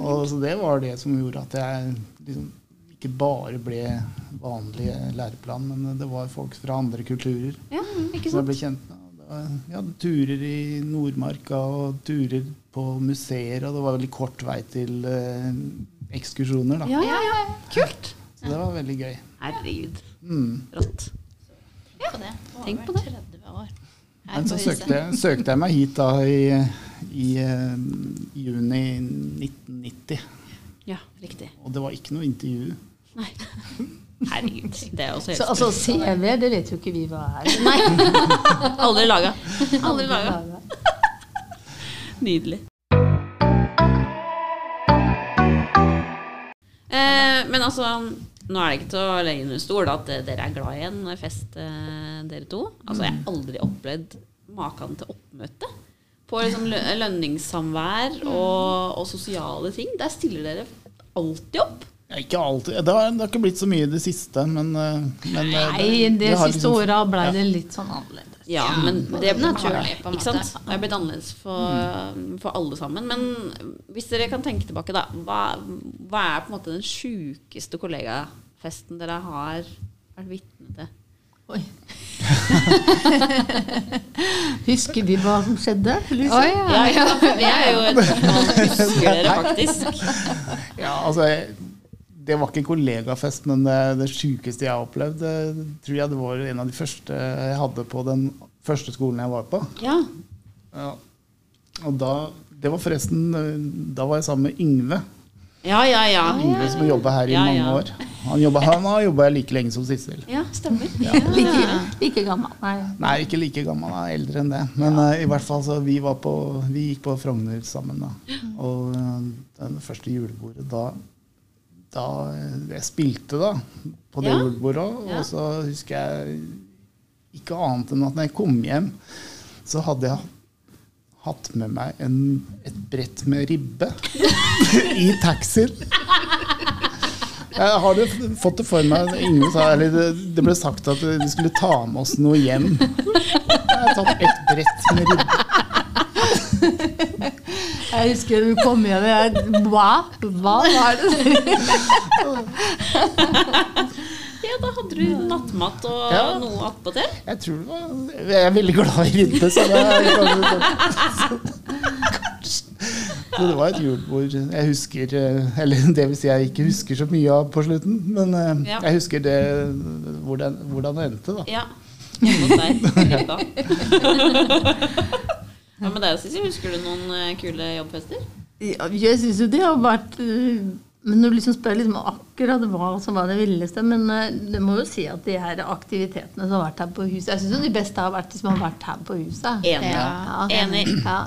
Speaker 3: Og så det var det som gjorde at jeg liksom ikke bare ble vanlig læreplan, men det var folk fra andre kulturer
Speaker 6: ja, ikke
Speaker 3: som jeg
Speaker 6: sant?
Speaker 3: ble kjent med. Og det var- Vi hadde turer i Nordmarka og turer på museer, og det var veldig kort vei til eh, ekskursjoner, da.
Speaker 6: Ja, ja, ja. Kult!
Speaker 3: Så det var veldig gøy.
Speaker 6: Herregud.
Speaker 3: Mm.
Speaker 6: Rått.
Speaker 4: Tenk på det.
Speaker 6: Tenk på
Speaker 4: Over
Speaker 6: det.
Speaker 4: 30 år. Her
Speaker 3: Men så
Speaker 4: på huset.
Speaker 3: søkte jeg, søkte jeg meg hit da i, i eh, juni 1990,
Speaker 6: Ja, riktig.
Speaker 3: og det var ikke noe intervju.
Speaker 6: Nei. Herregud. Det er
Speaker 5: Så
Speaker 6: også helt
Speaker 5: altså, CV-er, det vet jo ikke vi hva er.
Speaker 6: Nei. Aldri laga. Aldri laga. Nydelig. Eh, men altså, nå er det ikke til å legge under stol at eh, dere er glad i en fest, eh, dere to. Altså, jeg har aldri opplevd maken til oppmøte. På liksom lø- lønningssamvær og, og sosiale ting. Der stiller dere alltid opp.
Speaker 3: Ja, ikke alltid. Det har, det har ikke blitt så mye i det siste, men, eh, men eh,
Speaker 5: Nei, de
Speaker 3: har
Speaker 5: siste
Speaker 3: liksom-
Speaker 5: åra blei det litt sånn annerledes.
Speaker 6: Ja, men det er naturlig.
Speaker 4: på en
Speaker 6: Ikke sant? Mm. Det er blitt annerledes for, for alle sammen. Men hvis dere kan tenke tilbake, da. Hva, hva er på en måte den sjukeste kollegafesten dere har vært vitne til?
Speaker 5: Oi. Husker vi hva som skjedde? Liksom?
Speaker 4: Oi, ja.
Speaker 6: Ja, ja, for det er jo et spørsmål. Husker dere faktisk?
Speaker 3: Ja, altså, jeg- det var ikke kollegafest, men det, det sjukeste jeg har opplevd, det, tror jeg det var en av de første jeg hadde på den første skolen jeg var på.
Speaker 6: Ja.
Speaker 3: Ja. Og da Det var forresten eh, Da var jeg sammen med Yngve.
Speaker 6: Ja, ja, ja.
Speaker 3: Yngve som har jobba her i
Speaker 6: Ja,
Speaker 3: mange
Speaker 6: ja.
Speaker 3: år. Han, jobbet, han har jobba like lenge som Sissel.
Speaker 6: Ja, stemmer.
Speaker 5: Like, like gammel. Nei.
Speaker 3: Nei, ikke like gammel, han er eldre enn det. Men eh, i hvert fall, så vi, var på, vi gikk på Frogner sammen da. Og eh, den første julebordet da, da eh, Jeg spilte da på det
Speaker 6: Ja.
Speaker 3: julebordet òg,
Speaker 6: Ja.
Speaker 3: og så husker jeg ikke annet enn at når jeg kom hjem, så hadde jeg hatt med meg en, et brett med ribbe i taxien. Jeg har det, fått det for meg ingen sa, eller det, det ble sagt at vi skulle ta med oss noe hjem. Jeg har tatt et brett med ribbe.
Speaker 5: Jeg husker du kom hjem og jeg Hva? Hva var det?
Speaker 6: Ja, da hadde du nattmat og
Speaker 3: Ja.
Speaker 6: noe attpåtil.
Speaker 3: Jeg tror det var Jeg er veldig glad i ribbe, så det er kanskje sånn. Så det var et julebord jeg husker eh, Eller det vil si jeg ikke husker så mye av på slutten, men eh,
Speaker 6: Ja.
Speaker 3: jeg husker det, hvordan, hvordan det endte, da.
Speaker 6: Ja. Hjemme hos deg. Ribba. Hva med deg, Sissy? Husker du noen eh, kule jobbfester?
Speaker 5: Ja, jeg syns jo det har vært øh, Men når du liksom spør liksom akkurat hva som var det villeste Men øh, du må jo si at de her aktivitetene som har vært her på huset Jeg syns jo de beste har vært de som har vært her på huset.
Speaker 6: Enig.
Speaker 5: Ja.
Speaker 6: Enig.
Speaker 5: Ja.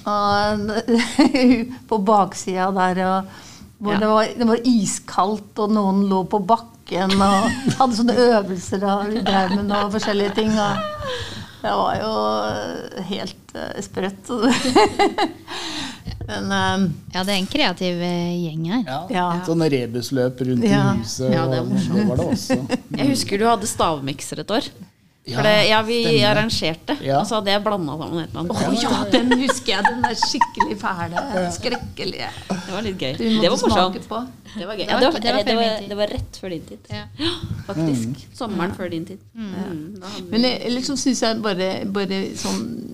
Speaker 5: Og på baksida der og hvor
Speaker 6: Ja.
Speaker 5: det, var, det var iskaldt, og noen lå på bakken og hadde sånne øvelser og vi drev med noen forskjellige ting. Og det var jo helt eh, sprøtt. Men eh,
Speaker 2: Ja, det er en kreativ eh, gjeng her.
Speaker 5: Ja.
Speaker 3: Sånn rebusløp rundt
Speaker 5: Ja.
Speaker 3: i huset.
Speaker 6: Ja, det er
Speaker 3: og
Speaker 6: morsomt.
Speaker 3: nå var det også.
Speaker 6: Jeg husker du hadde stavmikser et år.
Speaker 3: Ja,
Speaker 6: For det, ja, vi
Speaker 3: stemmer.
Speaker 6: arrangerte,
Speaker 3: Ja.
Speaker 6: og så hadde jeg blanda sammen et eller
Speaker 5: Å
Speaker 6: annet.
Speaker 5: ja, den husker jeg. Den er skikkelig fæle. Skrekkelige.
Speaker 6: Det var litt gøy.
Speaker 5: Du måtte
Speaker 6: Det var
Speaker 5: smake
Speaker 6: morsomt.
Speaker 5: på.
Speaker 6: Det var gøy.
Speaker 2: Det var
Speaker 6: Ja, det, var,
Speaker 2: ikke- det var før
Speaker 6: det,
Speaker 2: min
Speaker 6: var,
Speaker 2: tid.
Speaker 6: det var rett før din tid.
Speaker 2: Ja.
Speaker 6: Faktisk. Sommeren før din tid. Mm, da hadde vi-
Speaker 5: Men jeg- ellers så syns jeg bare, bare sånn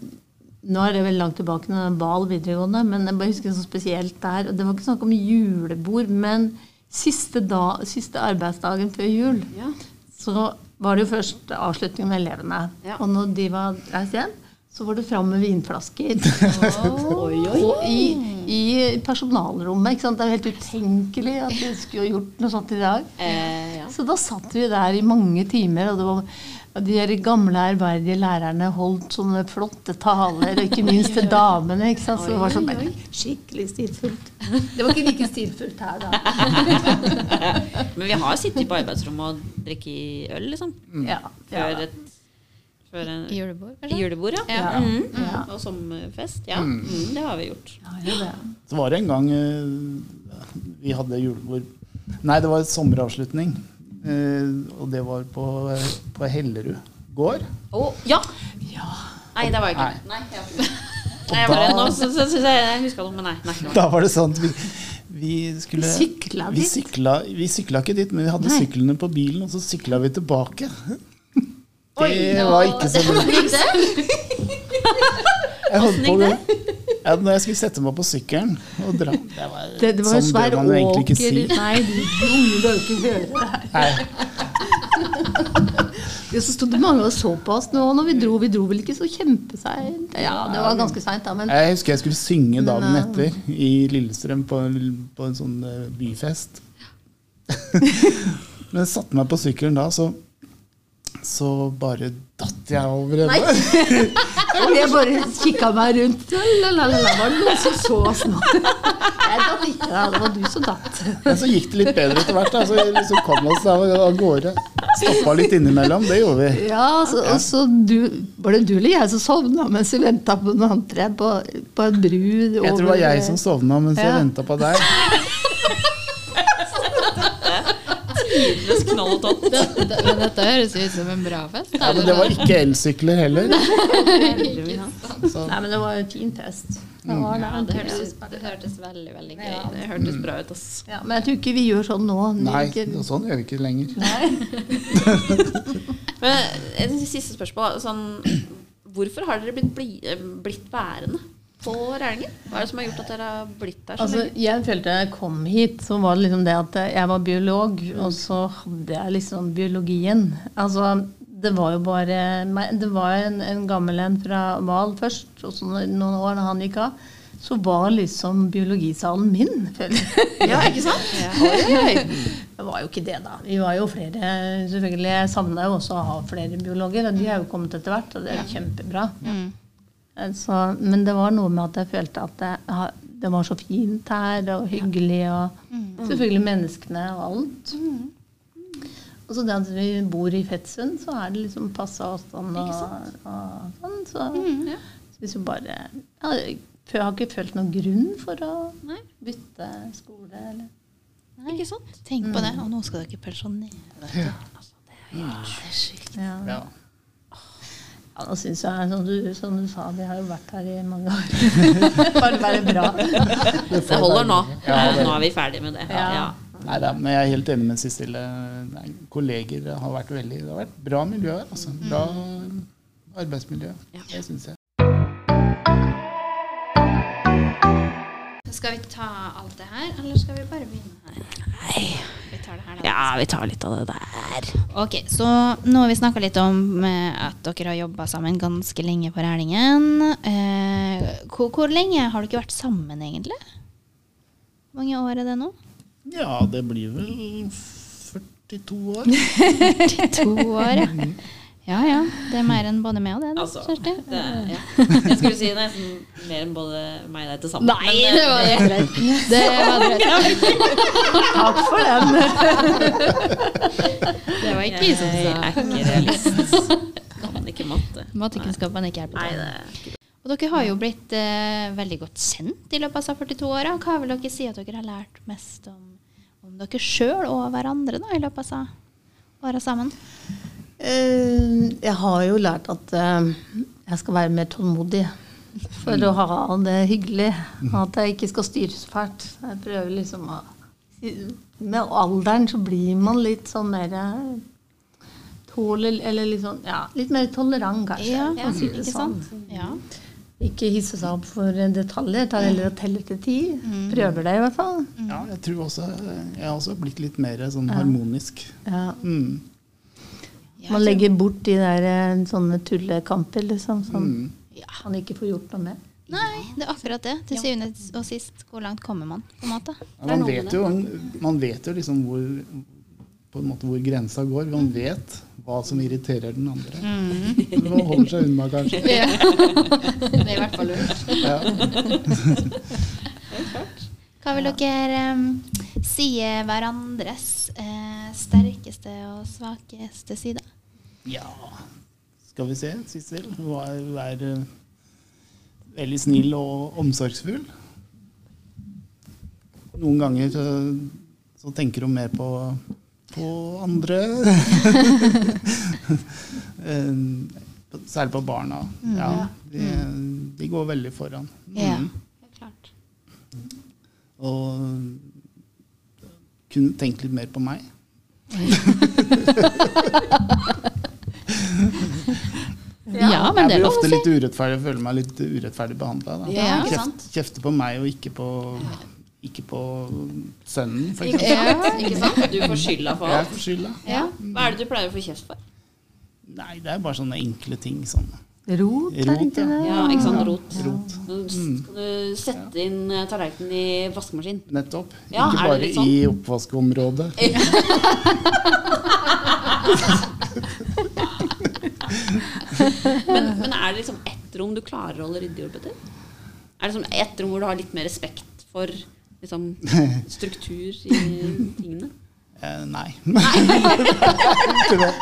Speaker 5: Nå er det vel langt tilbake når det var Bal videregående, men jeg bare husker sånn spesielt der. Og det var ikke snakk om julebord, men siste, da, siste arbeidsdagen før jul
Speaker 6: Ja.
Speaker 5: så var det jo først avslutning med elevene.
Speaker 6: Ja.
Speaker 5: Og når de var reist hjem, så var det fram med vinflasker. Og i, i personalrommet. Ikke sant? Det er jo helt utenkelig at vi skulle gjort noe sånt i dag.
Speaker 6: Eh, ja.
Speaker 5: Så da satt vi der i mange timer, og det var og de her gamle, ærverdige lærerne holdt sånne flotte taler, og ikke minst til damene. ikke sant? Så det var sånn bare, skikkelig stilfullt. Det var ikke like stilfullt her da.
Speaker 6: Men vi har sittet på arbeidsrommet og drikket øl, liksom.
Speaker 5: Mm. Ja, ja,
Speaker 6: Før et før en,
Speaker 2: I julebord, kanskje?
Speaker 6: julebord, ja.
Speaker 5: Ja.
Speaker 6: Mhm.
Speaker 5: Ja.
Speaker 6: Og sommerfest. Ja, Mhm, det har vi gjort.
Speaker 5: ja, det.
Speaker 3: Så var det en gang eh, vi hadde julebord Nei, det var sommeravslutning. eh, og det var på, på Hellerud gård.
Speaker 6: Å, ja. Nei, det var jeg ikke.
Speaker 3: Nei.
Speaker 6: Nei, jeg, var ikke.
Speaker 3: Og
Speaker 6: Nei, jeg, bare, nå,
Speaker 3: da,
Speaker 6: så, så, så, jeg, jeg huska noe, men nei. nei, nei.
Speaker 3: da var det sånn at vi, vi skulle
Speaker 5: Sykla
Speaker 3: Vi
Speaker 5: dit.
Speaker 3: sykla, vi sykla ikke dit, men vi hadde syklene på bilen, og så sykla vi tilbake. Det var ikke så lurt. Jeg holdt på ja, Når jeg skulle sette meg på sykkelen og dra Det var,
Speaker 5: Det, det var jo
Speaker 3: sånn
Speaker 5: svær
Speaker 3: bør man jo egentlig ikke si.
Speaker 5: åker Nei, de unge bør jo ikke høre det her.
Speaker 3: Nei.
Speaker 5: Og så sto det mange og så på oss nå når vi dro. Vi dro vel ikke så kjempeseint. Mm. Ja, det var ganske seint, da, men
Speaker 3: Jeg husker jeg skulle synge dagen
Speaker 5: Men, eh,
Speaker 3: etter i Lillestrøm på en, på en sånn eh, byfest. Men jeg satte meg på sykkelen da, så, så bare datt jeg over
Speaker 5: Nei.
Speaker 3: ende.
Speaker 5: Og jeg bare kikka meg rundt. La, la, la, la, var det noen som så oss nå? Jeg datt ikke, da. Det var du som datt.
Speaker 3: Men så gikk det litt bedre etter hvert. Da. Så vi liksom kom oss av av gårde. Stoppa litt innimellom. Det gjorde vi.
Speaker 5: Ja, så, og så du, Var det du eller jeg som sovna mens vi venta på noen andre på, på en bru?
Speaker 3: Jeg tror det var jeg som sovna mens jeg
Speaker 5: Ja.
Speaker 3: venta på deg.
Speaker 6: Tidenes knall og tott.
Speaker 2: Men dette høres ut som en bra fest.
Speaker 3: Ja, men det var ikke elsykler heller.
Speaker 5: Nei, men det var jo en fin fest. Det var det.
Speaker 4: Det hørtes, det hørtes veldig, veldig gøy ut.
Speaker 6: Det hørtes bra ut, ass.
Speaker 5: Ja, men jeg tror ikke vi gjør sånn nå. Vi
Speaker 3: Nei,
Speaker 5: ikke-
Speaker 3: og sånn gjør vi ikke lenger.
Speaker 6: Men et siste spørsmål. Sånn, hvorfor har dere blitt, bli, eh, blitt værende på Rælingen? Hva er det som har gjort at dere har blitt der så
Speaker 5: Altså,
Speaker 6: lenge?
Speaker 5: jeg følte jeg kom hit, så var det liksom det at jeg var biolog,
Speaker 6: Mm.
Speaker 5: og så hadde jeg liksom biologien. Altså, det var jo bare meg. Det var en, en gammel en fra Val først, og så når- noen år da han gikk av, så var liksom biologisalen min, føler jeg.
Speaker 6: Ja, ikke sant?
Speaker 5: Det var jo ikke det, da. Vi var jo flere, selvfølgelig. Jeg savna jo også å ha flere biologer, og de er jo kommet etter hvert, og det er jo kjempebra. Eh, Så, men det var noe med at jeg følte at det, ha- det var så fint her, og hyggelig, og selvfølgelig menneskene og alt. Og så det at vi bor i Fettsund, så er det liksom passe avstand og, og sånn. Så synes jo bare ja, Jeg har ikke følt noen grunn for å
Speaker 6: Nei.
Speaker 5: bytte skole, eller
Speaker 6: Ikke sant?
Speaker 2: Tenk på det. Og nå skal dere pensjonere.
Speaker 5: ja.
Speaker 3: Ja.
Speaker 5: Ja, nå synes jeg, som du, som du sa, vi har jo vært her i mange år. Bare være bra.
Speaker 6: Det holder nå.
Speaker 3: Ja, det-
Speaker 6: Nå er vi ferdig med det. Ja.
Speaker 5: Ja.
Speaker 3: Nei da, men jeg er helt enig med Cecilie. Nei, Kolleger har vært veldig Det har vært bra miljø her, altså. Bra arbeidsmiljø. Det syns jeg.
Speaker 2: Skal vi ta alt det her, eller skal vi bare begynne her? Nei. Vi tar det her, da.
Speaker 1: Ja, vi tar litt av det der.
Speaker 2: Ok, så nå har vi snakka litt om eh, at dere har jobba sammen ganske lenge på Rælingen. Eh, hvor, hvor lenge har dere vært sammen, egentlig? Hvor mange år er det nå?
Speaker 3: Ja, det blir vel 42 år.
Speaker 2: To år, ja. Ja ja, det er mer enn både meg og det, da,
Speaker 6: Altså,
Speaker 2: Kjersti.
Speaker 6: det, er- ja. Jeg skulle si nesten mer enn både meg og deg til sammen.
Speaker 2: Nei,
Speaker 6: men, eh,
Speaker 2: det var helt rett. Det var drøyt.
Speaker 5: Takk for den.
Speaker 2: Det var ikke
Speaker 6: jeg
Speaker 2: som
Speaker 6: er
Speaker 2: sa.
Speaker 6: ikke realist. Kan ikke matte.
Speaker 2: Mattekunnskapene ikke hjelper
Speaker 6: Nei,
Speaker 2: til.
Speaker 6: det er ikke det.
Speaker 2: Og dere har jo blitt eh, veldig godt kjent i løpet av disse 42 åra. Hva vil dere si at dere har lært mest om, om dere sjøl og hverandre da, i løpet av disse åra sammen?
Speaker 5: Eh, Jeg har jo lært at eh, jeg skal være mer tålmodig for å ha det hyggelig. Og at jeg ikke skal styre så fælt. Jeg prøver liksom å Med alderen så blir man litt sånn mer eh, tåler, Eller liksom ja, litt mer tolerant, kanskje. for å si det
Speaker 2: ikke
Speaker 5: sånn.
Speaker 2: sant? Ja.
Speaker 5: Ikke hisse seg opp for detaljer. Tar heller og teller til ti.
Speaker 2: Mm.
Speaker 5: Prøver det, i hvert fall.
Speaker 3: Ja, jeg tror også Jeg har også blitt litt mer sånn harmonisk.
Speaker 5: Ja.
Speaker 3: Mm.
Speaker 5: Man legger bort de der eh, sånne tullekamper, liksom, som
Speaker 3: Mm.
Speaker 5: man ikke får gjort noe med.
Speaker 2: Nei, det er akkurat det. Til syvende og sist, hvor langt kommer man, på en måte?
Speaker 3: Ja, Man vet jo, man vet jo liksom hvor, på en måte hvor grensa går. Man vet hva som irriterer den andre. Man holder seg unna, kanskje.
Speaker 2: Det er i hvert fall lurt. Hva vil dere em, si er hverandres eh, sterkeste og svakeste side?
Speaker 3: Ja Skal vi se, Sissel. Hun er, hun er eh, veldig snill og omsorgsfull. Noen ganger så, så tenker hun mer på, på andre. Eh, Særlig på barna. Ja, de, de går veldig foran.
Speaker 2: Ja.
Speaker 3: Mm. Og kunne tenkt litt mer på meg.
Speaker 1: Ja, men det er
Speaker 3: jeg blir
Speaker 1: lov å
Speaker 3: ofte
Speaker 1: si.
Speaker 3: litt urettferdig, føler meg litt urettferdig behandla.
Speaker 2: Ja, ikke
Speaker 3: Kjeft, kjefter på meg og ikke på, ikke på sønnen, for eksempel.
Speaker 6: Ikke sant? Du får skylda for
Speaker 3: Jeg er
Speaker 6: alt.
Speaker 3: for skylda.
Speaker 6: Hva er det du pleier å få kjeft for?
Speaker 3: Nei, det er bare sånne enkle ting. Sånn.
Speaker 5: Rot, er det
Speaker 3: Rot,
Speaker 5: ikke det?
Speaker 6: Ja, ikke sant? Rot. Mm.
Speaker 3: Rot.
Speaker 6: Nå Skal du sette inn eh, tallerkenen i vaskemaskinen?
Speaker 3: Nettopp.
Speaker 6: Ja,
Speaker 3: ikke
Speaker 6: er
Speaker 3: bare
Speaker 6: det litt
Speaker 3: i oppvaskområdet.
Speaker 6: Men, men er det liksom ett rom du klarer å holde ryddig, Ole Petter? Er det sånn ett rom hvor du har litt mer respekt for liksom, struktur i tingene?
Speaker 3: Eh, nei. Ikke det.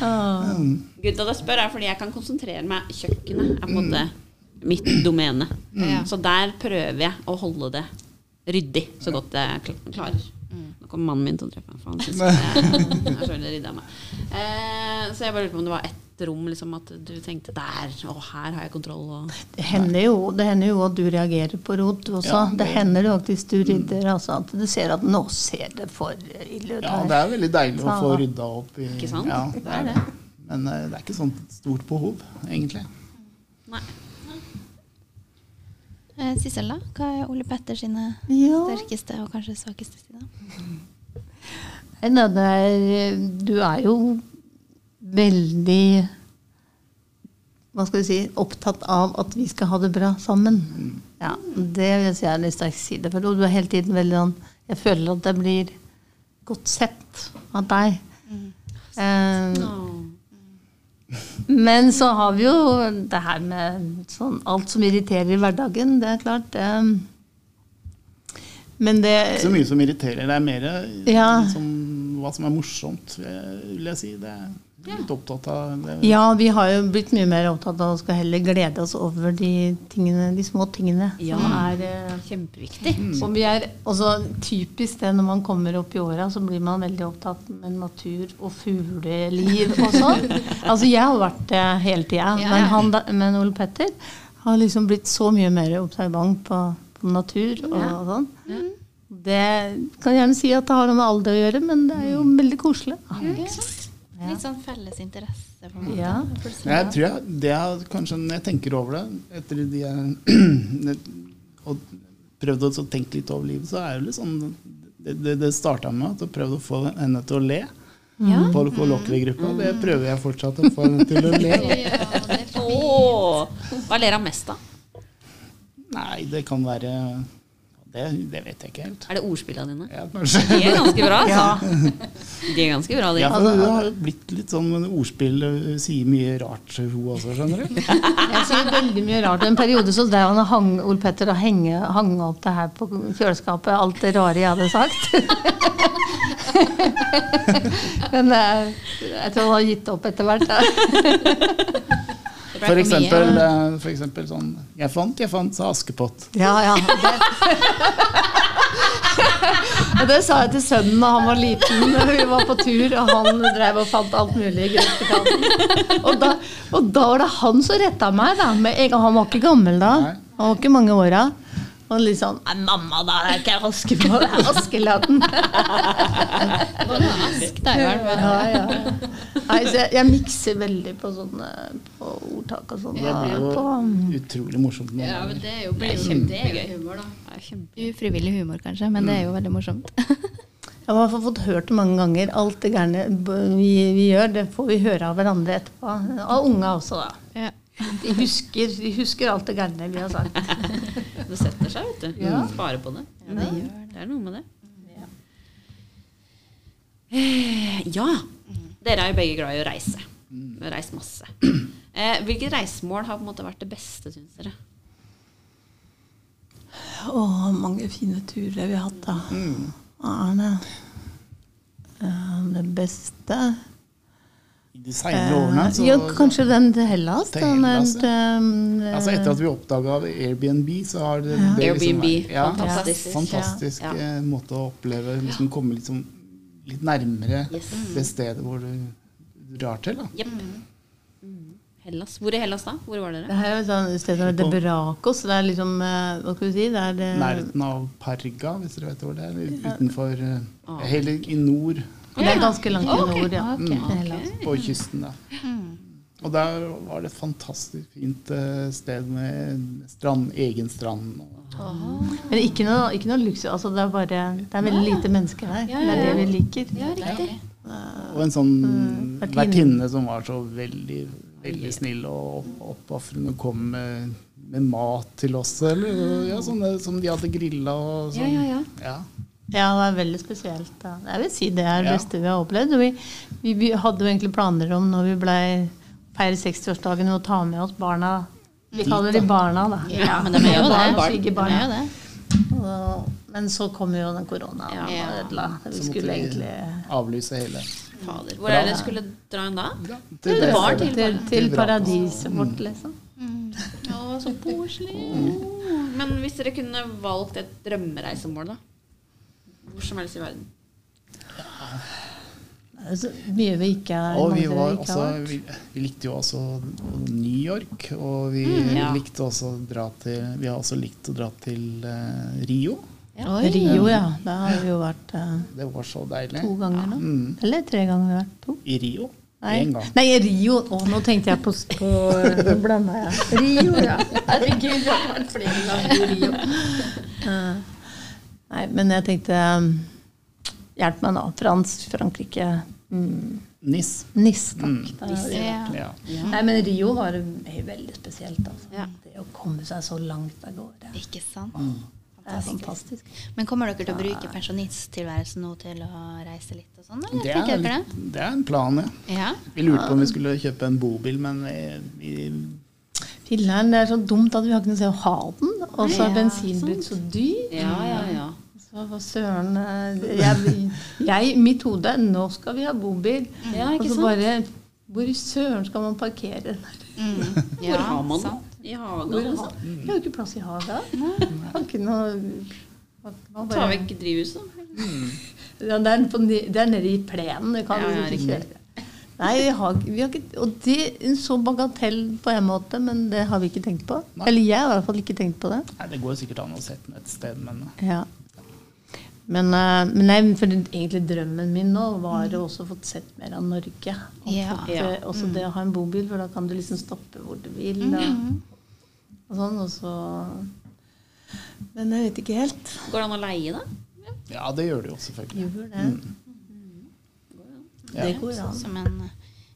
Speaker 6: Grunnen til at jeg spør, er fordi jeg kan konsentrere meg. Kjøkkenet er på en
Speaker 3: Mm.
Speaker 6: måte mitt domene. Så der prøver jeg å holde det ryddig så godt jeg kl- klarer. Nå kom mannen min til å drepe meg, for han syns jeg jeg er så veldig ryddig av meg. Eh, så jeg bare lurte på om det var ett rom liksom, at du tenkte der, og her har jeg kontroll. Og
Speaker 5: Det hender, jo, det hender jo at du reagerer på rot du også.
Speaker 3: Ja,
Speaker 5: det,
Speaker 3: det- Mm.
Speaker 5: hender jo faktisk du rydder. Altså, at du ser at nå ser det for ille ut
Speaker 3: Ja,
Speaker 5: her.
Speaker 3: det er veldig deilig å få
Speaker 5: Faen, da.
Speaker 3: rydda opp i
Speaker 6: Ikke sant?
Speaker 3: Ja, det er det. Men eh, det er ikke sånt stort behov, egentlig.
Speaker 6: nei.
Speaker 2: Eh, Sissel, da? Hva er Ole Petter sine
Speaker 5: Ja.
Speaker 2: sterkeste og kanskje svakeste sider?
Speaker 5: Nei, nei, det er, du er jo veldig hva skal vi si, opptatt av at vi skal ha det bra sammen. Ja, Det vil jeg si er en sterk side. For du er hele tiden veldig sånn Jeg føler at jeg blir godt sett av deg. Eh, men så har vi jo det her med sånn, alt som irriterer i hverdagen. Det er klart. eh, men det
Speaker 3: Ikke så mye som irriterer. Det er mer eh,
Speaker 5: Ja.
Speaker 3: liksom, hva som er morsomt, eh, vil jeg si. Det er jeg litt opptatt av det.
Speaker 5: Ja, vi har jo blitt mye mer opptatt av å skal heller glede oss over de, tingene, de små tingene. Som er, eh,
Speaker 6: Kjempeviktig.
Speaker 5: og vi er også typisk det når man kommer opp i åra, så blir man veldig opptatt med natur og fugleliv og sånn. altså jeg har vært det hele tida, men, han da- men Ole Petter Har liksom blitt så mye mer observant på, på natur og sånn. Det kan gjerne si at det har noe med alder å gjøre, men det er jo veldig koselig.
Speaker 4: Litt sånn felles interesse, på en måte.
Speaker 5: Ja.
Speaker 3: Ja, jeg tror jeg, det er kanskje Når jeg tenker over det, etter de er, og prøvd å så tenke litt over livet, så er det litt sånn Det, det, det starta med at jeg prøvde å få henne til å le. På kollokviegruppa. Det prøver jeg fortsatt å få henne til å le.
Speaker 6: Åh, Hva ler han mest av?
Speaker 3: Nei, det kan være Det, det vet jeg ikke helt.
Speaker 6: Er det ordspillene dine?
Speaker 3: Ja, kanskje.
Speaker 6: De er ganske bra, altså. De er ganske bra, de.
Speaker 3: Ja, for det har jo blitt litt sånn men ordspill. Hun sier mye rart, hun også, skjønner du.
Speaker 5: Jeg sier veldig mye rart. En periode så drev han og hang Ole Petter og henge, hang opp det her på kjøleskapet, alt det rare jeg hadde sagt. Men eh, jeg tror han har gitt opp etter hvert. da.
Speaker 3: For eksempel, eh, for eksempel sånn Jeg fant, jeg fant, sa Askepott.
Speaker 5: Ja, ja. Det. Og det sa jeg til sønnen da han var liten. og Vi var på tur, og han drev og fant alt mulig. grønt i kanten. Og da, og da var det han som retta meg. Da. Med en gang, han var ikke gammel da.
Speaker 3: Nei.
Speaker 5: Han var ikke mange åra. Og litt sånn Nei, mamma, da er det ikke aske på det er Askeladden. Ja, ja. Nei, så jeg, jeg mikser veldig på sånne på ordtak og sånn.
Speaker 3: Det blir
Speaker 5: da,
Speaker 3: jo
Speaker 5: på-
Speaker 3: utrolig morsomt. noen ganger.
Speaker 6: det er jo kjempegøy. Det er kjempe-
Speaker 2: Ufrivillig humor, kanskje, men det er
Speaker 3: Mm.
Speaker 2: jo veldig morsomt.
Speaker 5: Jeg har i hvert fall fått hørt det mange ganger. Alt det gærne b- vi, vi gjør, det får vi høre av hverandre etterpå. Av unga også, da.
Speaker 2: Ja.
Speaker 5: De husker, de husker alt det gærne vi har sagt.
Speaker 6: Det setter seg, vet du.
Speaker 5: Ja.
Speaker 6: Spare på det. det er noe med det. Eh, Ja. Dere er jo begge glad i å reise. Reist masse. Eh, hvilket reisemål har på en måte vært det beste, syns dere?
Speaker 5: Å, mange fine turer vi har hatt, da.
Speaker 3: Mm.
Speaker 5: Hva er det? Eh, Det beste
Speaker 3: I de seinere årene så
Speaker 5: Eh, Ja, kanskje den til Hellas.
Speaker 3: Til
Speaker 5: den
Speaker 3: Hellas,
Speaker 5: der, eh,
Speaker 3: Altså Etter at vi oppdaga Airbnb, så har det, det liksom
Speaker 6: Airbnb,
Speaker 3: vært- ja,
Speaker 6: fantastisk.
Speaker 3: fantastisk
Speaker 6: Ja.
Speaker 3: eh, måte å oppleve liksom, Komme liksom litt nærmere
Speaker 6: Yes.
Speaker 3: det stedet hvor du drar til. Da.
Speaker 6: Jepp. Mm. Hellas. Hvor i Hellas da? Hvor var dere?
Speaker 5: Det her er jo sånn et sånt sted som heter Brakos. Det er liksom eh, Hva skal vi si? Det er det,
Speaker 3: Nærheten av Parga, hvis dere vet hvor det er. Utenfor eh,
Speaker 6: Ah.
Speaker 3: Hele i nord
Speaker 5: det er ganske langt i nord, ja. til Hellas.
Speaker 3: på kysten. Da.
Speaker 6: Mm.
Speaker 3: Og der var det et fantastisk fint eh, sted med strand, egen strand. Og
Speaker 5: Men ikke noe, ikke noe luksus. Altså det, er bare, det er veldig lite mennesker her. Det er det vi liker.
Speaker 6: Ja, riktig.
Speaker 3: Og en sånn
Speaker 6: Mm.
Speaker 5: vertinne.
Speaker 3: vertinne som var så veldig, veldig snill og opp- oppofrende. Kom med, med mat til oss, eller ja, sånne som de hadde grilla og sånn.
Speaker 6: Ja, ja,
Speaker 3: Ja.
Speaker 5: Ja, det er veldig spesielt. Da. Jeg vil si det er det
Speaker 3: Ja.
Speaker 5: beste vi har opplevd. Og vi, vi, vi hadde jo egentlig planer om når vi blei feirer 60-årsdagen å ta med oss barna. Vi kaller de barna, da.
Speaker 6: Ja, men de er jo
Speaker 5: Barn,
Speaker 6: det. Barn.
Speaker 5: svigerbarna.
Speaker 2: Det er jo det.
Speaker 5: Og- Men så kom jo den koronaen og ødela. Vi
Speaker 3: Så måtte
Speaker 5: skulle
Speaker 3: vi-
Speaker 5: egentlig
Speaker 3: Avlyse hele.
Speaker 6: Fader. Hvor er det dere skulle dra hen da?
Speaker 3: Ja,
Speaker 6: Det var
Speaker 3: stedet.
Speaker 5: til, til
Speaker 3: Til Vrakos.
Speaker 5: paradiset vårt, liksom.
Speaker 6: Å, så koselig. Men hvis dere kunne valgt et drømmereisemål, da? Hvor som helst i verden.
Speaker 5: Det er så mye vi ikke er
Speaker 3: Og vi,
Speaker 5: mange
Speaker 3: var altså
Speaker 5: ikke
Speaker 3: også,
Speaker 5: har vært.
Speaker 3: vi, vi likte jo også New York, og vi
Speaker 6: ja.
Speaker 3: likte også å dra til Vi har også likt å dra til eh, Rio.
Speaker 5: Rio, ja. Da har vi jo vært eh,
Speaker 3: Det var så deilig.
Speaker 5: to ganger nå.
Speaker 3: Mm.
Speaker 5: Eller tre ganger vi har vært. To.
Speaker 3: I Rio.
Speaker 5: Nei.
Speaker 3: Én gang.
Speaker 5: Nei, Rio. Å, nå tenkte jeg på, på eh, Nå blanda jeg. Rio, ja. Herregud, jeg har vært flere ganger i Rio. Eh, Nei, men jeg tenkte um, Hjelp meg nå. Frans, Frankrike. Mm.
Speaker 3: Nis.
Speaker 5: Nis, takk.
Speaker 3: Mm.
Speaker 5: Da har vi vært.
Speaker 3: Ja.
Speaker 5: Nei, men Rio var ve- veldig spesielt, altså.
Speaker 6: Ja.
Speaker 5: Det å komme seg så langt av gårde. Det
Speaker 4: Ikke sant?
Speaker 5: er fantastisk.
Speaker 4: Men kommer dere til å bruke pensjonisttilværelsen nå til å reise litt og sånn, eller
Speaker 3: Det
Speaker 4: tenker
Speaker 3: er,
Speaker 4: dere det?
Speaker 3: litt, det er en plan, ja.
Speaker 4: Ja.
Speaker 3: Vi lurte på om vi skulle kjøpe en bobil, men vi, vi
Speaker 5: Filler'n, det er så dumt at vi har ikke noe sted å ha den. Og så er
Speaker 4: Ja,
Speaker 5: bensin blitt så dyr.
Speaker 6: Ja, ja, ja.
Speaker 5: Så hva søren eh, jeg, jeg, Mitt hode Nå skal vi ha bobil.
Speaker 6: Ja,
Speaker 5: og
Speaker 6: ikke
Speaker 5: så
Speaker 6: sant?
Speaker 5: bare Hvor i søren skal man parkere den her?
Speaker 6: Hvor har man den? Mm. I hagen,
Speaker 5: Hvor
Speaker 6: altså.
Speaker 5: har- Vi har jo ikke plass i hagen. Har ikke noe man- man
Speaker 6: Ta
Speaker 5: bare,
Speaker 6: vekk drivhuset.
Speaker 5: ja, det, er på, ni- det er nede i plenen. Du kan
Speaker 6: Ja, ja,
Speaker 5: liksom ikke kjøre. Nei, vi har, vi har ikke Og det er en så bagatell på en måte, men det har vi ikke tenkt på.
Speaker 3: Nei.
Speaker 5: Eller jeg har i hvert fall ikke tenkt på det.
Speaker 3: Nei, det går sikkert an å sette den et sted, men
Speaker 5: Ja. Men, eh, men nei, for det- egentlig drømmen min nå var å også fått sett mer av Norge. Og
Speaker 7: Ja.
Speaker 5: fått,
Speaker 6: Ja.
Speaker 5: eh, Også det å ha en bobil, for da kan du liksom stoppe hvor du vil. Og, og sånn, og så Men jeg vet ikke helt.
Speaker 6: Går det an å leie, da?
Speaker 3: ja, det gjør det jo selvfølgelig.
Speaker 5: Gjør det. Mhm.
Speaker 3: Ja.
Speaker 5: Det går
Speaker 2: Så-
Speaker 5: an.
Speaker 2: Som en,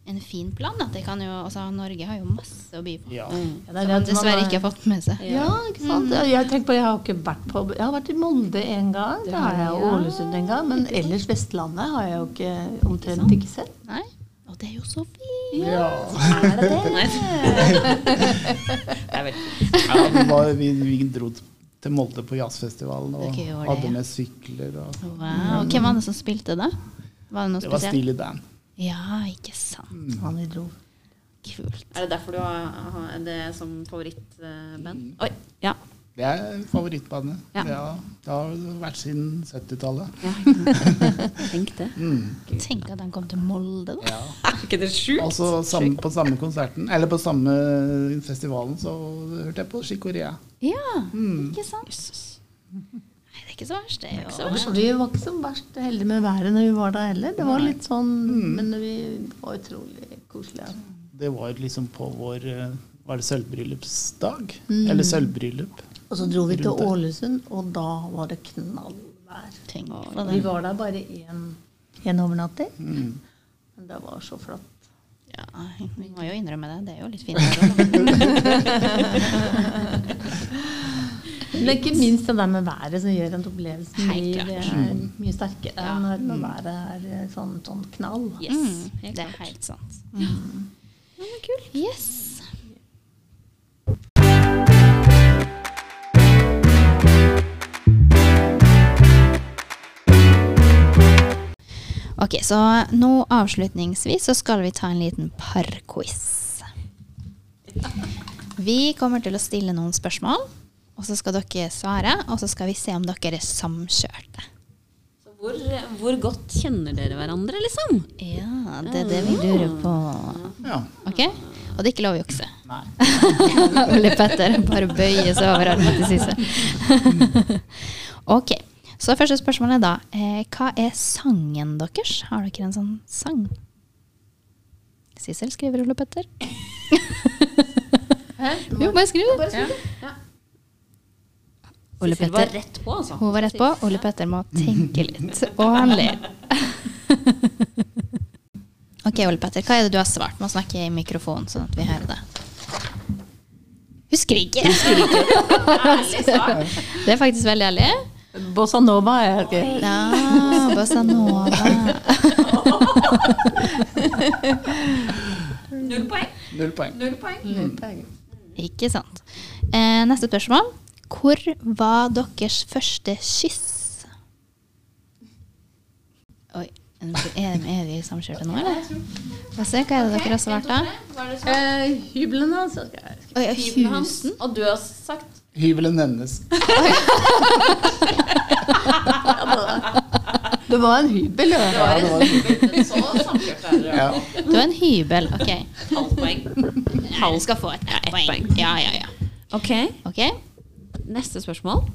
Speaker 2: en fin plan. At det kan jo, altså, Norge har jo masse å by på.
Speaker 3: Ja.
Speaker 5: Ja,
Speaker 2: Som man
Speaker 5: det er det at man
Speaker 2: dessverre
Speaker 5: har-
Speaker 2: ikke har fått med seg.
Speaker 5: Ja, Mhm. ikke sant. Ja, Jeg tenker på, jeg har ikke vært på Jeg har vært i Molde en gang. Da har jeg og Ålesund en gang. Men ellers Vestlandet har jeg jo ikke omtrent ikke sett.
Speaker 2: Nei? Og det er jo så fint!
Speaker 3: Ja.
Speaker 5: Er det det?
Speaker 6: Nei. Det er vel
Speaker 3: Ja, vi, var, vi, vi dro til Molde på jazzfestivalen og
Speaker 2: Dere gjorde det, ja.
Speaker 3: hadde med sykler. Og
Speaker 2: Wow. Hvem var det som spilte, da? Var det noe
Speaker 3: det var
Speaker 2: spesielt?
Speaker 3: Steely Dan.
Speaker 2: Ja, ikke sant.
Speaker 5: Han vi dro.
Speaker 2: Kult.
Speaker 6: Er det derfor du har, har det som favorittband?
Speaker 2: Mm.
Speaker 6: Oi, ja.
Speaker 3: Det er favorittbandet.
Speaker 6: Ja.
Speaker 3: Det, har, det har vært siden 70-tallet.
Speaker 6: Tenk det.
Speaker 2: Tenk at han kom til Molde, da.
Speaker 3: Ja.
Speaker 6: Er ikke det sjukt?
Speaker 3: Altså, samme, på samme konserten, eller på samme eh, festivalen, så hørte jeg på Chicorea.
Speaker 2: Ja, ikke sant? Nei, det er ikke så verst, det. er jo-
Speaker 5: Og vi var ikke så verst heldige med været når vi var der heller. Det var litt sånn,
Speaker 3: Mm.
Speaker 5: men vi var utrolig koselige.
Speaker 3: Det var liksom på vår eh, Var det sølvbryllupsdag? Eller sølvbryllup.
Speaker 5: Og så dro vi til
Speaker 3: Rundt der.
Speaker 5: Ålesund, og da var det knallvær.
Speaker 2: Tenk på
Speaker 5: Og
Speaker 2: det.
Speaker 5: Vi var der bare én overnatting,
Speaker 3: Mm.
Speaker 5: men det var så flott.
Speaker 2: Ja, vi må jo innrømme det. Det er jo litt fint. her også.
Speaker 5: Men det er ikke minst det der med været som gjør at opplevelsen
Speaker 6: Helt
Speaker 5: blir eh,
Speaker 3: Mm.
Speaker 5: mye sterkere når når været er eh, sånn, sånn knall.
Speaker 6: Yes. Mm,
Speaker 2: Mm.
Speaker 6: Helt
Speaker 2: Det er Mm.
Speaker 6: klart.
Speaker 2: helt sant.
Speaker 6: Ja, men kult.
Speaker 2: Yes. Ok, så nå avslutningsvis så skal vi ta en liten parquiz. Vi kommer til å stille noen spørsmål, og så skal dere svare, og så skal vi se om dere er samkjørte.
Speaker 6: Så hvor, hvor godt kjenner dere hverandre, liksom?
Speaker 2: Ja, det er det vi lurer på.
Speaker 3: Ja.
Speaker 2: Ok? Og det er ikke lov å jukse.
Speaker 3: Nei.
Speaker 2: Ole Petter bare bøyer seg over Arne Sisse. ok. Så første spørsmål er da eh, Hva er sangen deres? Har dere en sånn sang? Sissel skriver Ole Petter. jo, bare skriv det. Ole
Speaker 6: Sissel var
Speaker 2: Petter.
Speaker 6: rett på, altså.
Speaker 2: Hun var rett på. Ole Petter må tenke litt. Og han ler. ok, Ole Petter, hva er det du har svart? Må snakke i mikrofonen, sånn at vi hører det. Husker ikke.
Speaker 6: Ærlig svar.
Speaker 2: Det er faktisk veldig ærlig.
Speaker 5: Bossa Nova er jeg ikke
Speaker 2: Ja, bossa nova.
Speaker 6: Null poeng.
Speaker 3: Null poeng.
Speaker 6: Null poeng.
Speaker 2: Ikke sant. Eh, neste spørsmål. Hvor var deres første kyss? Oi, er, er vi samkjørte nå, eller? Få se, hva er det dere har svart, da?
Speaker 6: Hva er det som-
Speaker 5: Eh, Hyblene, altså. Jeg
Speaker 2: Oi, ja,
Speaker 6: Hyben hans.
Speaker 2: husen.
Speaker 6: Og du har sagt
Speaker 3: Hyvelen hennes.
Speaker 5: Det var en hybel, jo.
Speaker 6: Det var en hybel. Så samkjørt er dere.
Speaker 3: Ja.
Speaker 2: Det var en hybel. Ok.
Speaker 6: Halvt poeng.
Speaker 2: Du skal få et, et poeng. Ja, ja, ja.
Speaker 6: Ok,
Speaker 2: Ok,
Speaker 6: neste spørsmål.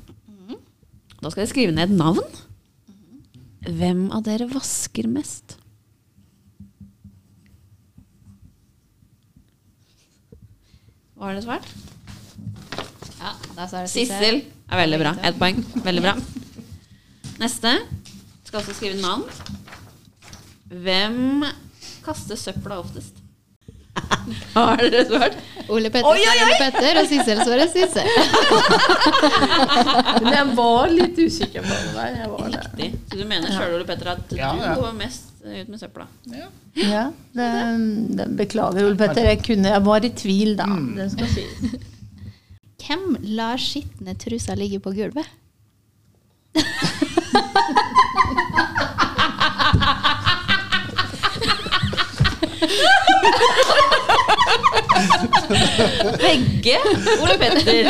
Speaker 6: Da skal jeg skrive ned et navn. Hvem av dere vasker mest? Hva har dere svart?
Speaker 2: ja da svarer
Speaker 6: Sissel er veldig bra. Ett poeng. Veldig bra. Neste. Skal også skrive navn. Hvem kaster søpla oftest? Hva har dere svart?
Speaker 2: Ole Petter
Speaker 6: Oi, oi,
Speaker 2: svarer
Speaker 6: oi!
Speaker 2: Ole Petter, og Sissel svarer Sissel.
Speaker 5: Men jeg var litt usikker på det der. Jeg var det.
Speaker 6: Riktig. Så du mener sjøl, Ole Petter, at
Speaker 3: Ja, ja.
Speaker 6: du går mest ut med søpla?
Speaker 3: Ja.
Speaker 5: Ja, det, det beklager, Ole Petter. Jeg, kunne, jeg var i tvil da. Det skal sies.
Speaker 2: Hvem lar skitne truser ligge på gulvet?
Speaker 6: Begge Ole Petter.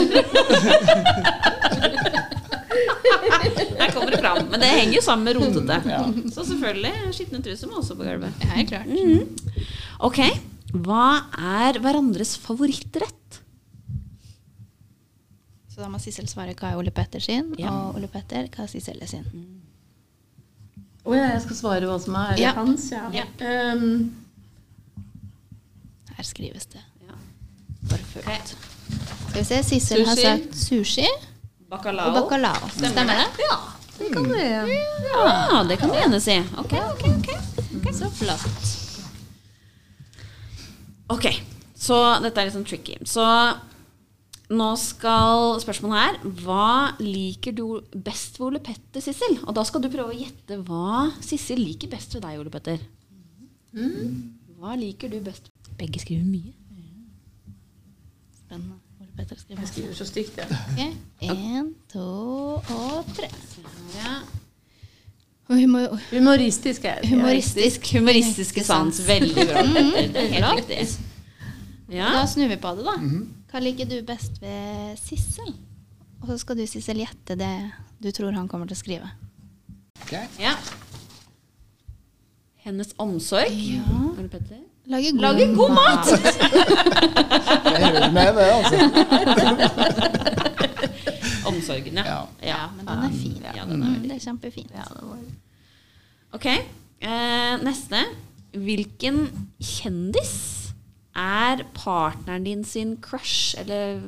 Speaker 6: Her kommer det fram. Men det henger jo sammen med rotete.
Speaker 3: Ja.
Speaker 6: Så selvfølgelig, skitne truser må også på gulvet.
Speaker 2: Ja, helt klart.
Speaker 6: Mhm. Ok, hva er hverandres favorittrett?
Speaker 2: Så da må Sissel svare hva er Ole Petter sin,
Speaker 6: Ja.
Speaker 2: og Ole Petter hva er Sissel sin.
Speaker 5: Å ja, jeg skal svare hva som er
Speaker 2: Ja.
Speaker 5: hans, ja.
Speaker 6: Ja.
Speaker 5: Ehm,
Speaker 2: Her skrives det.
Speaker 6: Ja.
Speaker 2: For fullt. Skal vi se, Sissel har
Speaker 6: Sushi.
Speaker 2: sagt sushi
Speaker 6: Bacalao.
Speaker 2: og bacalao. Stemmer det?
Speaker 6: Ja.
Speaker 5: det kan du gjøre.
Speaker 6: ja, det kan du gjerne si. Ok, ok, ok. Ok. Så flott. Ok, så dette er litt sånn tricky. Så nå skal spørsmålet her Hva liker du best ved Ole Petter, Sissel? Og da skal du prøve å gjette hva Sissel liker best ved deg, Ole Petter. Hva liker du best? Begge skriver mye.
Speaker 2: Spennende. Ole Petter skriver.
Speaker 5: Jeg skriver så stygt, jeg.
Speaker 2: Ok. En, to og tre.
Speaker 6: Ja.
Speaker 2: Og hun må jo
Speaker 5: Humoristisk er det.
Speaker 2: Humoristisk.
Speaker 6: Humoristiske sans. Veldig bra. Petter. Det er helt riktig.
Speaker 2: Da
Speaker 6: Ja.
Speaker 2: snur vi på det, da. Hva liker du best ved Sissel? Og så skal du, Sissel, gjette det du tror han kommer til å skrive.
Speaker 3: Ok.
Speaker 6: ja. Hennes omsorg. Ole Petter.
Speaker 2: Lage god,
Speaker 6: Lage god mat!
Speaker 3: Jeg hører med det, altså.
Speaker 6: Omsorgen, ja.
Speaker 3: Ja.
Speaker 6: ja.
Speaker 2: Men den er fin.
Speaker 6: Ja, den er
Speaker 2: Mm,
Speaker 6: veldig
Speaker 2: det er kjempefint.
Speaker 5: Ja, det var
Speaker 6: Ok, eh, neste. Hvilken kjendis er partneren din sin crush, eller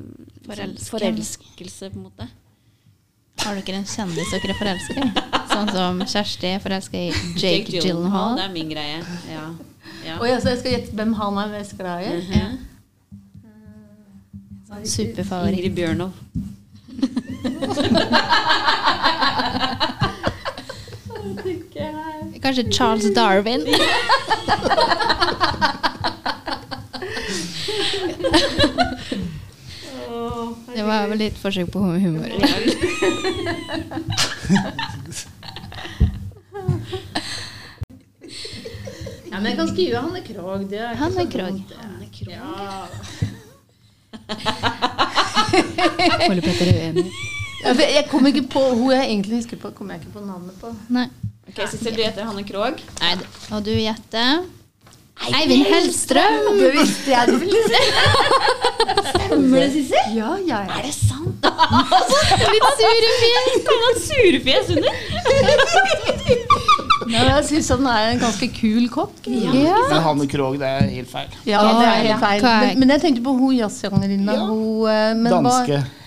Speaker 2: Forelskelse.
Speaker 6: forelskelse på en måte?
Speaker 2: Har dere en kjendis dere forelsker i? Sånn som Kjersti er forelska i Jake,
Speaker 6: Det
Speaker 2: Gyllenhaal.
Speaker 6: er min greie. Ja. ja.
Speaker 5: Oi, altså, jeg skal gjette hvem han er mest glad i.
Speaker 6: Mhm.
Speaker 2: Superfavoritt.
Speaker 6: Ingrid Bjørnov.
Speaker 2: Kanskje Charles Darwin? Det var vel litt forsøk på humor.
Speaker 5: Ja, men jeg kan skrive Hanne Krogh. Det er ikke
Speaker 2: Hanne
Speaker 5: så dumt,
Speaker 2: Krogh.
Speaker 5: det.
Speaker 6: Anne Krogh.
Speaker 5: Ja.
Speaker 2: Ole Petter er uenig.
Speaker 5: Ja, for Jeg kom ikke på hun jeg egentlig husker på. Kom jeg ikke på navnet på.
Speaker 2: Nei.
Speaker 6: Ok, Sissel, du heter Hanne Krogh.
Speaker 2: Nei. det- Og du gjetter? Eivind Hellstrøm!
Speaker 5: Det visste jeg du ville si! Stemmer det, Sissel? Ja, ja, ja.
Speaker 6: Er det sant?
Speaker 2: Litt sure fjes.
Speaker 6: Kan han surefjes under?
Speaker 5: ja jeg syns han er en ganske kul kokk.
Speaker 6: Ja.
Speaker 3: Men Hanne Krogh, det er helt feil.
Speaker 5: Ja, det er helt feil.
Speaker 2: Hva er-
Speaker 5: Men, men jeg tenkte på hun jazzsangerinna.
Speaker 3: Ja.
Speaker 5: Hun eh, men
Speaker 3: Danske.
Speaker 5: Hva,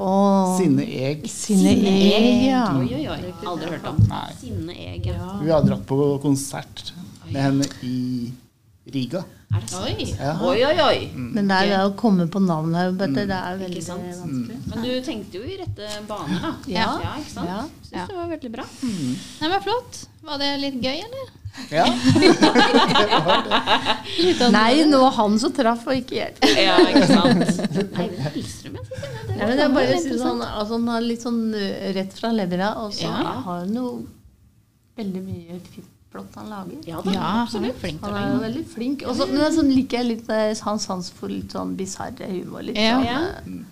Speaker 5: Åh.
Speaker 3: Sinne Eg.
Speaker 5: Sinne Eg, ja.
Speaker 6: Oi, oi, oi. Aldri hørt om.
Speaker 3: Nei.
Speaker 6: Sinne Ege.
Speaker 3: Vi har dratt på konsert med henne i Riga.
Speaker 6: Er det sant?
Speaker 3: Ja.
Speaker 6: Oi, oi, oi.
Speaker 5: Men det er det å komme på navnet vet du, det er veldig
Speaker 6: Ikke sant?
Speaker 5: vanskelig.
Speaker 6: Men du tenkte jo i rette baner, da.
Speaker 5: Ja.
Speaker 6: ikke sant?
Speaker 5: Ja.
Speaker 6: Syns det var veldig bra.
Speaker 2: Nei, men Flott. Var det litt gøy, eller?
Speaker 3: Ja.
Speaker 5: Nei, nå var han som traff, og ikke jeg.
Speaker 6: Ja, ikke sant? Nei, Hellstrøm, jeg synes det
Speaker 5: Nei, men jeg bare synes han, altså, han har litt sånn eh, rett fra levra, og så
Speaker 6: Ja.
Speaker 5: har han jo veldig mye fint blått han lager.
Speaker 6: Ja da,
Speaker 2: absolutt.
Speaker 6: absolutt.
Speaker 2: Flink til
Speaker 5: Han
Speaker 2: å
Speaker 5: er
Speaker 2: lage.
Speaker 5: jo veldig flink. Og så- men jeg sånn, liker jeg litt eh, hans sans for litt sånn bisarre humor. Litt
Speaker 2: Ja.
Speaker 5: sånn,
Speaker 6: Ja.
Speaker 5: eh,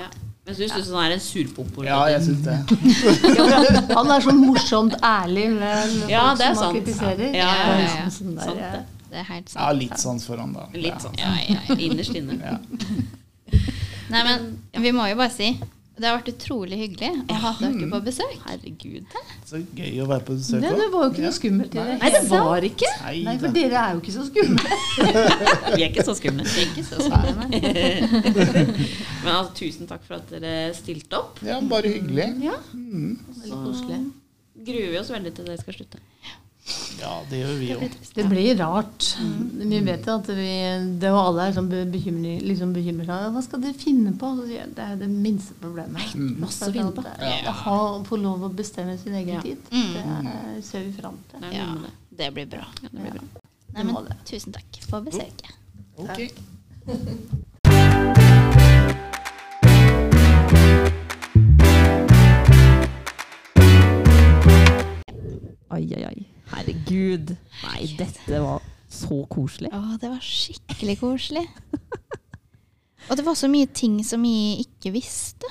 Speaker 6: Ja. Men syns du sånn er en surpopol?
Speaker 3: ja, jeg syns det.
Speaker 5: Han er sånn morsomt ærlig med med
Speaker 6: Ja,
Speaker 5: folk
Speaker 6: det er
Speaker 5: som han
Speaker 6: sant.
Speaker 5: kritiserer.
Speaker 6: Ja, ja,
Speaker 5: Det er
Speaker 6: ja,
Speaker 5: liksom
Speaker 6: ja.
Speaker 5: sånn der,
Speaker 6: Sant
Speaker 5: eh,
Speaker 6: det.
Speaker 2: Det er helt sant.
Speaker 3: Ja, litt sans for han, da.
Speaker 6: Litt sånn
Speaker 2: Ja, ja, ja.
Speaker 6: innerst inne.
Speaker 3: Ja.
Speaker 2: Nei, men vi må jo bare si det har vært utrolig hyggelig å ha dere på besøk. Herregud.
Speaker 3: Så gøy å være på besøk
Speaker 5: Nei, det var jo ikke
Speaker 3: Ja.
Speaker 5: noe skummelt i det.
Speaker 6: Nei, det var ikke.
Speaker 3: Nei,
Speaker 5: Nei, for
Speaker 3: da.
Speaker 5: dere er jo ikke så skumle.
Speaker 6: Vi er ikke så skumle. Ikke så skumle, Men altså, tusen takk for at dere stilte opp.
Speaker 3: Ja, bare hyggelig. Mm.
Speaker 6: Ja.
Speaker 5: Veldig koselig.
Speaker 6: Gruer vi oss veldig til dere skal slutte.
Speaker 3: Ja, det gjør vi jo.
Speaker 5: Det blir rart. Vi vet jo at vi det og alle er sånn be- bekymring, liksom bekymret. «Ja, Hva skal dere finne på? Så sier jeg, Det er det minste problemet.
Speaker 3: Mm.
Speaker 6: Masse å finne på. Mm.
Speaker 5: Det er- Å ha, å få lov å bestemme sin egen tid, det er- ser vi fram til.
Speaker 6: Det er
Speaker 2: Ja,
Speaker 6: noe med det.
Speaker 2: det blir bra.
Speaker 6: Det blir bra.
Speaker 2: Nei, men tusen takk for besøket.
Speaker 3: Ok.
Speaker 1: Oi, oi, oi. Herregud. Nei, dette var så koselig.
Speaker 2: Å, det var skikkelig koselig. Og det var så mye ting som jeg ikke visste.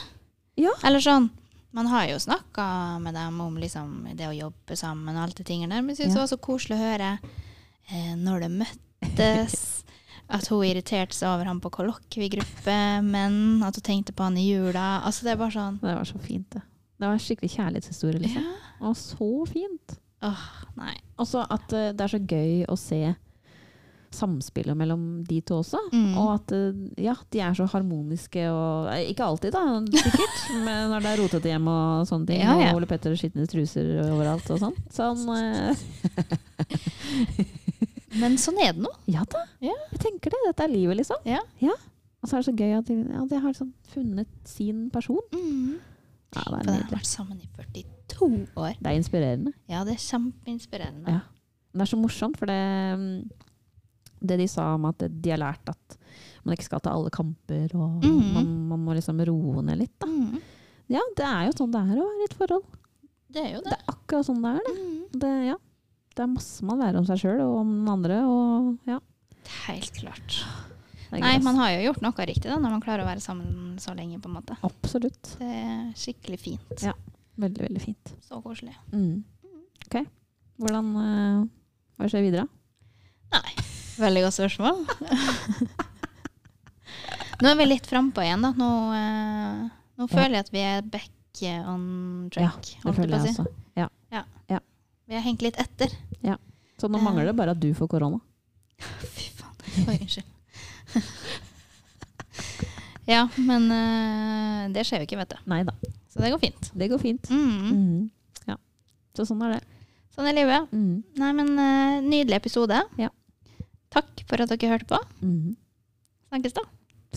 Speaker 1: Ja.
Speaker 2: Eller sånn Man har jo snakka med dem om liksom, det å jobbe sammen og alt de tingene der, men jeg syns
Speaker 1: Ja.
Speaker 2: det var så koselig å høre eh, når de møttes. At hun irriterte seg over ham på kollokviegruppe, men at hun tenkte på han i jula. Altså, det er bare sånn
Speaker 1: Det var så fint, det. Det var en skikkelig kjærlighetshistorie, liksom.
Speaker 2: Ja.
Speaker 1: Og så fint.
Speaker 2: Åh, nei.
Speaker 1: Også at eh, det er så gøy å se samspillet mellom de to også.
Speaker 2: Mm.
Speaker 1: Og at eh, ja, de er så harmoniske og eh, Ikke alltid, da, sikkert. men når det er rotete hjemme og sånne ting.
Speaker 2: Ja, ja.
Speaker 1: Og Ole Petter skitne truser overalt og sånn. Sånn eh,
Speaker 2: Men sånn er det nå.
Speaker 1: Ja da.
Speaker 2: Ja.
Speaker 1: Jeg tenker det. Dette er livet, liksom.
Speaker 2: Ja.
Speaker 1: Og så er det så gøy at de, ja, de har liksom funnet sin person.
Speaker 2: Mm.
Speaker 1: Ja, det er
Speaker 2: For de har
Speaker 1: nydelig.
Speaker 2: vært sammen i 42 år.
Speaker 1: Det er inspirerende.
Speaker 2: Ja, det er kjempeinspirerende.
Speaker 1: Ja. Det er så morsomt, for det, mm, det de sa om at de har lært at man ikke skal ta alle kamper, og
Speaker 2: Mhm.
Speaker 1: man, man må liksom roe ned litt. Da.
Speaker 2: Mm.
Speaker 1: Ja, det er jo sånn det er å være i et forhold.
Speaker 2: Det er jo
Speaker 1: Det
Speaker 2: det.
Speaker 1: er akkurat sånn det er. Det,
Speaker 2: Mm.
Speaker 1: det, ja. det er masse man lærer om seg sjøl og om den andre. Og, ja,
Speaker 2: Helt klart.
Speaker 1: det er
Speaker 2: Nei,
Speaker 1: gøy, ass.
Speaker 2: man har jo gjort noe riktig da, når man klarer å være sammen så lenge. på en måte.
Speaker 1: Absolutt.
Speaker 2: Det er skikkelig fint.
Speaker 1: Ja. Veldig, veldig fint.
Speaker 2: Så koselig.
Speaker 1: Mm. Ok. Hvordan eh, Hva skjer videre?
Speaker 2: Veldig godt spørsmål. nå er vi litt frampå igjen, da. Nå, eh, nå
Speaker 1: Ja.
Speaker 2: føler jeg at vi er back eh, on track.
Speaker 1: Det
Speaker 2: holdt jeg
Speaker 1: føler
Speaker 2: på å
Speaker 1: jeg
Speaker 2: si.
Speaker 1: også.
Speaker 2: Vi har hengt litt etter.
Speaker 1: Så
Speaker 2: Eh.
Speaker 1: nå mangler det bare at du får korona.
Speaker 2: Fy faen. Oi, unnskyld. ja, men eh, det skjer jo ikke, vet du.
Speaker 1: Nei da.
Speaker 2: Så det går fint.
Speaker 1: Det går fint.
Speaker 2: Mm.
Speaker 1: Mhm. Ja. Så sånn er det.
Speaker 2: Sånn er livet.
Speaker 1: Mhm.
Speaker 2: Nei, men eh, nydelig episode.
Speaker 1: Ja.
Speaker 2: Takk for at dere hørte på.
Speaker 1: Mhm.
Speaker 2: Snakkes da.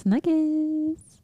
Speaker 1: Snakkes!